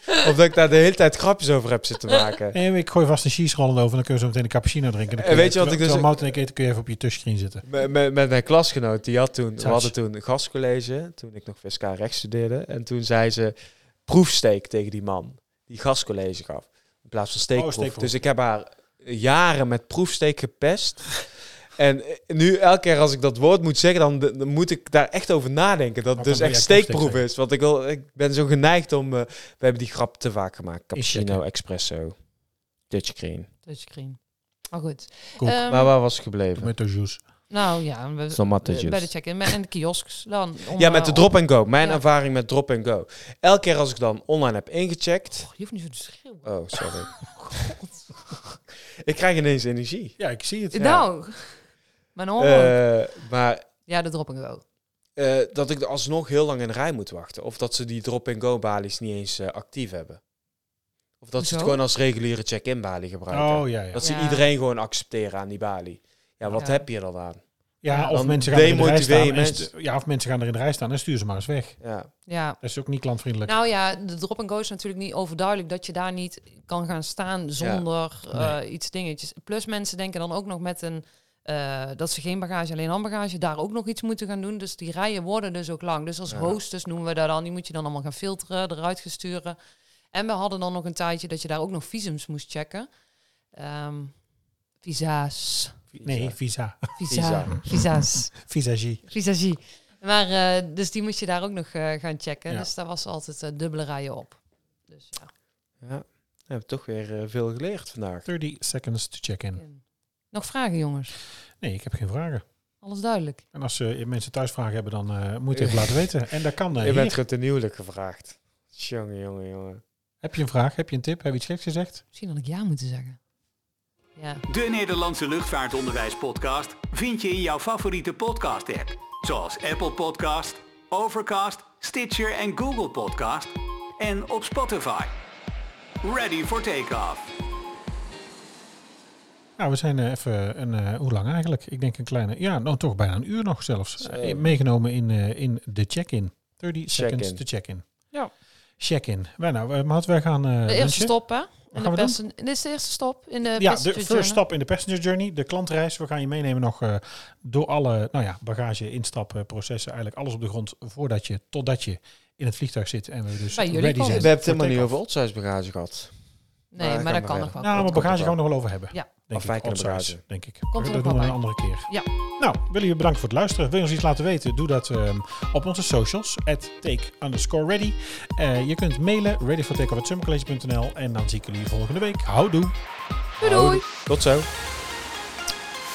S5: of dat ik daar de hele tijd grapjes over heb zitten maken.
S3: En ik gooi vast een cheese rollend over en dan kun je zo meteen een cappuccino drinken. Dan kun
S5: En weet je wat
S3: terwijl-
S5: ik dus-
S3: terwijl Mout en ik eten, kun je even op je touchscreen zitten.
S5: Met, met, met mijn klasgenoot, die had toen, we
S3: Touch.
S5: hadden toen een gastcollege, toen ik nog VSK rechts studeerde. En toen zei ze proefsteek tegen die man, die gastcollege gaf. In plaats van steekproef.
S3: Oh, steekproef.
S5: Dus ik heb haar jaren met proefsteek gepest. en eh, nu elke keer als ik dat woord moet zeggen, dan, dan moet ik daar echt over nadenken. Dat het
S3: Want
S5: dus
S3: dan
S5: echt
S3: wil jij proefsteek zeggen.
S5: steekproef is. Want ik, wil, ik ben zo geneigd om... eh, we hebben die grap te vaak gemaakt. Cappuccino,
S3: Inchecken.
S5: espresso, Dutch cream.
S2: Touchscreen. Maar goed.
S3: Koek.
S2: Ehm,
S5: maar waar was ik gebleven?
S3: Tomato juice.
S2: nou ja, we,
S5: Tomaten
S2: eh,
S5: juice.
S2: bij de check-in. En de kiosks dan. om,
S5: Ja, met
S2: eh,
S5: de drop and go. Mijn
S2: Ja.
S5: ervaring met drop and go. Elke keer als ik dan online heb ingecheckt.
S2: Oh, je hoeft niet zo te schreeuwen.
S5: Oh, sorry. ik krijg ineens energie.
S3: Ja, ik zie het.
S2: Nou, mijn hoor.
S5: Eh, maar
S2: ja, de drop and go.
S5: eh, dat ik er alsnog heel lang in de rij moet wachten. Of dat ze die drop and go balies niet eens eh, actief hebben. Of dat ze het
S2: Hoezo?
S5: gewoon als reguliere check-in balie gebruiken.
S3: Oh ja, ja.
S5: Dat ze
S2: Ja.
S5: iedereen gewoon accepteren aan die balie. Ja, wat
S2: Ja.
S5: heb je dan aan?
S3: Ja, of
S5: Dan
S3: mensen gaan er in de rij
S5: demotiveer je
S3: staan. en
S5: mensen.
S3: stu- Ja, of mensen gaan er in de rij staan en stuur ze maar eens weg.
S5: Ja.
S2: Ja.
S3: Dat is ook niet klantvriendelijk.
S2: Nou ja, de drop and go is natuurlijk niet overduidelijk dat je daar niet kan gaan staan zonder
S3: Nee.
S2: eh, iets dingetjes. Plus mensen denken dan ook nog met een eh, dat ze geen bagage, alleen handbagage, daar ook nog iets moeten gaan doen. Dus die rijen worden dus ook lang. Dus als
S5: Ja.
S2: hostess noemen we dat dan, die moet je dan allemaal gaan filteren, eruit gesturen. En we hadden dan nog een tijdje dat je daar ook nog visums moest checken. Ehm, visa's.
S3: nee, visa.
S2: Visa. Visa's.
S3: Visagie.
S2: Visagie. Maar eh, dus die moest je daar ook nog eh, gaan checken.
S3: Ja.
S2: Dus daar was altijd eh, dubbele rijen op. Dus ja.
S5: ja. We hebben toch weer eh, veel geleerd vandaag.
S3: 30 seconds to check in.
S2: En- Nog vragen, jongens?
S3: Nee, ik heb geen vragen.
S2: Alles duidelijk.
S3: En als eh, mensen thuis vragen hebben, dan eh moet je het even laten weten. En dat kan. eh,
S5: je bent
S3: hier.
S5: gewoon ten huwelijk gevraagd. Jongen, jongen, jongen.
S3: Heb je een vraag? Heb je een tip? Heb je iets geks gezegd?
S2: Misschien had ik ja moeten zeggen. Ja.
S1: De Nederlandse Luchtvaartonderwijspodcast vind je in jouw favoriete podcast-app. Zoals Apple Podcast, Overcast, Stitcher en Google Podcast. En op Spotify. Ready for takeoff.
S3: Nou, we zijn eh, even een... eh, hoe lang eigenlijk? Ik denk een kleine... Ja, nou toch bijna een uur nog zelfs.
S5: Zo.
S3: Eh, meegenomen in, eh, in de check-in. 30 seconds
S5: Check-in.
S3: to check in.
S2: Ja.
S3: Check in. Wij nou, eh, Maud, wij gaan... eh,
S2: De
S3: lunchen.
S2: eerste stop, hè? In de
S3: gaan we doen?
S2: passen- Dit is de eerste stop in de
S3: Ja, de
S2: passenger
S3: first
S2: journey.
S3: stap in de passenger journey, de klantreis. We gaan je meenemen nog eh, door alle nou ja, bagage, instappen, processen. Eigenlijk alles op de grond voordat je, totdat je in het vliegtuig zit en we dus
S2: Bij jullie
S3: ready
S2: komen.
S5: We
S3: zijn.
S5: hebben het
S3: voor
S5: helemaal niet
S3: take-off.
S5: over outsize bagage gehad.
S2: Nee,
S5: Ah,
S2: maar
S5: gaan
S2: dat
S5: we
S2: kan nog
S5: verder.
S2: wel.
S3: Nou, maar
S5: komt
S3: bagage
S5: wel.
S3: gaan we nog wel over hebben.
S2: Ja.
S3: denk ik.
S4: Afwijkende
S3: Odd size,
S4: bedragen.
S3: denk ik.
S2: er
S3: dat
S2: nog
S3: doen we
S2: wel
S3: een andere keer.
S2: Ja.
S3: Nou, willen jullie bedanken voor het luisteren. Wil je ons iets laten weten? Doe dat ehm, op onze socials. At take underscore ready. Eh, je kunt mailen readyfortakeoff.summercollege.nl En dan zie ik jullie volgende week. Houdoe.
S2: Doei doei!
S4: Tot zo.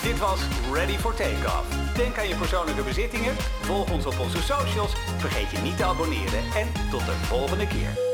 S1: Dit was Ready for Takeoff. Denk aan je persoonlijke bezittingen, volg ons op onze socials, vergeet je niet te abonneren en tot de volgende keer.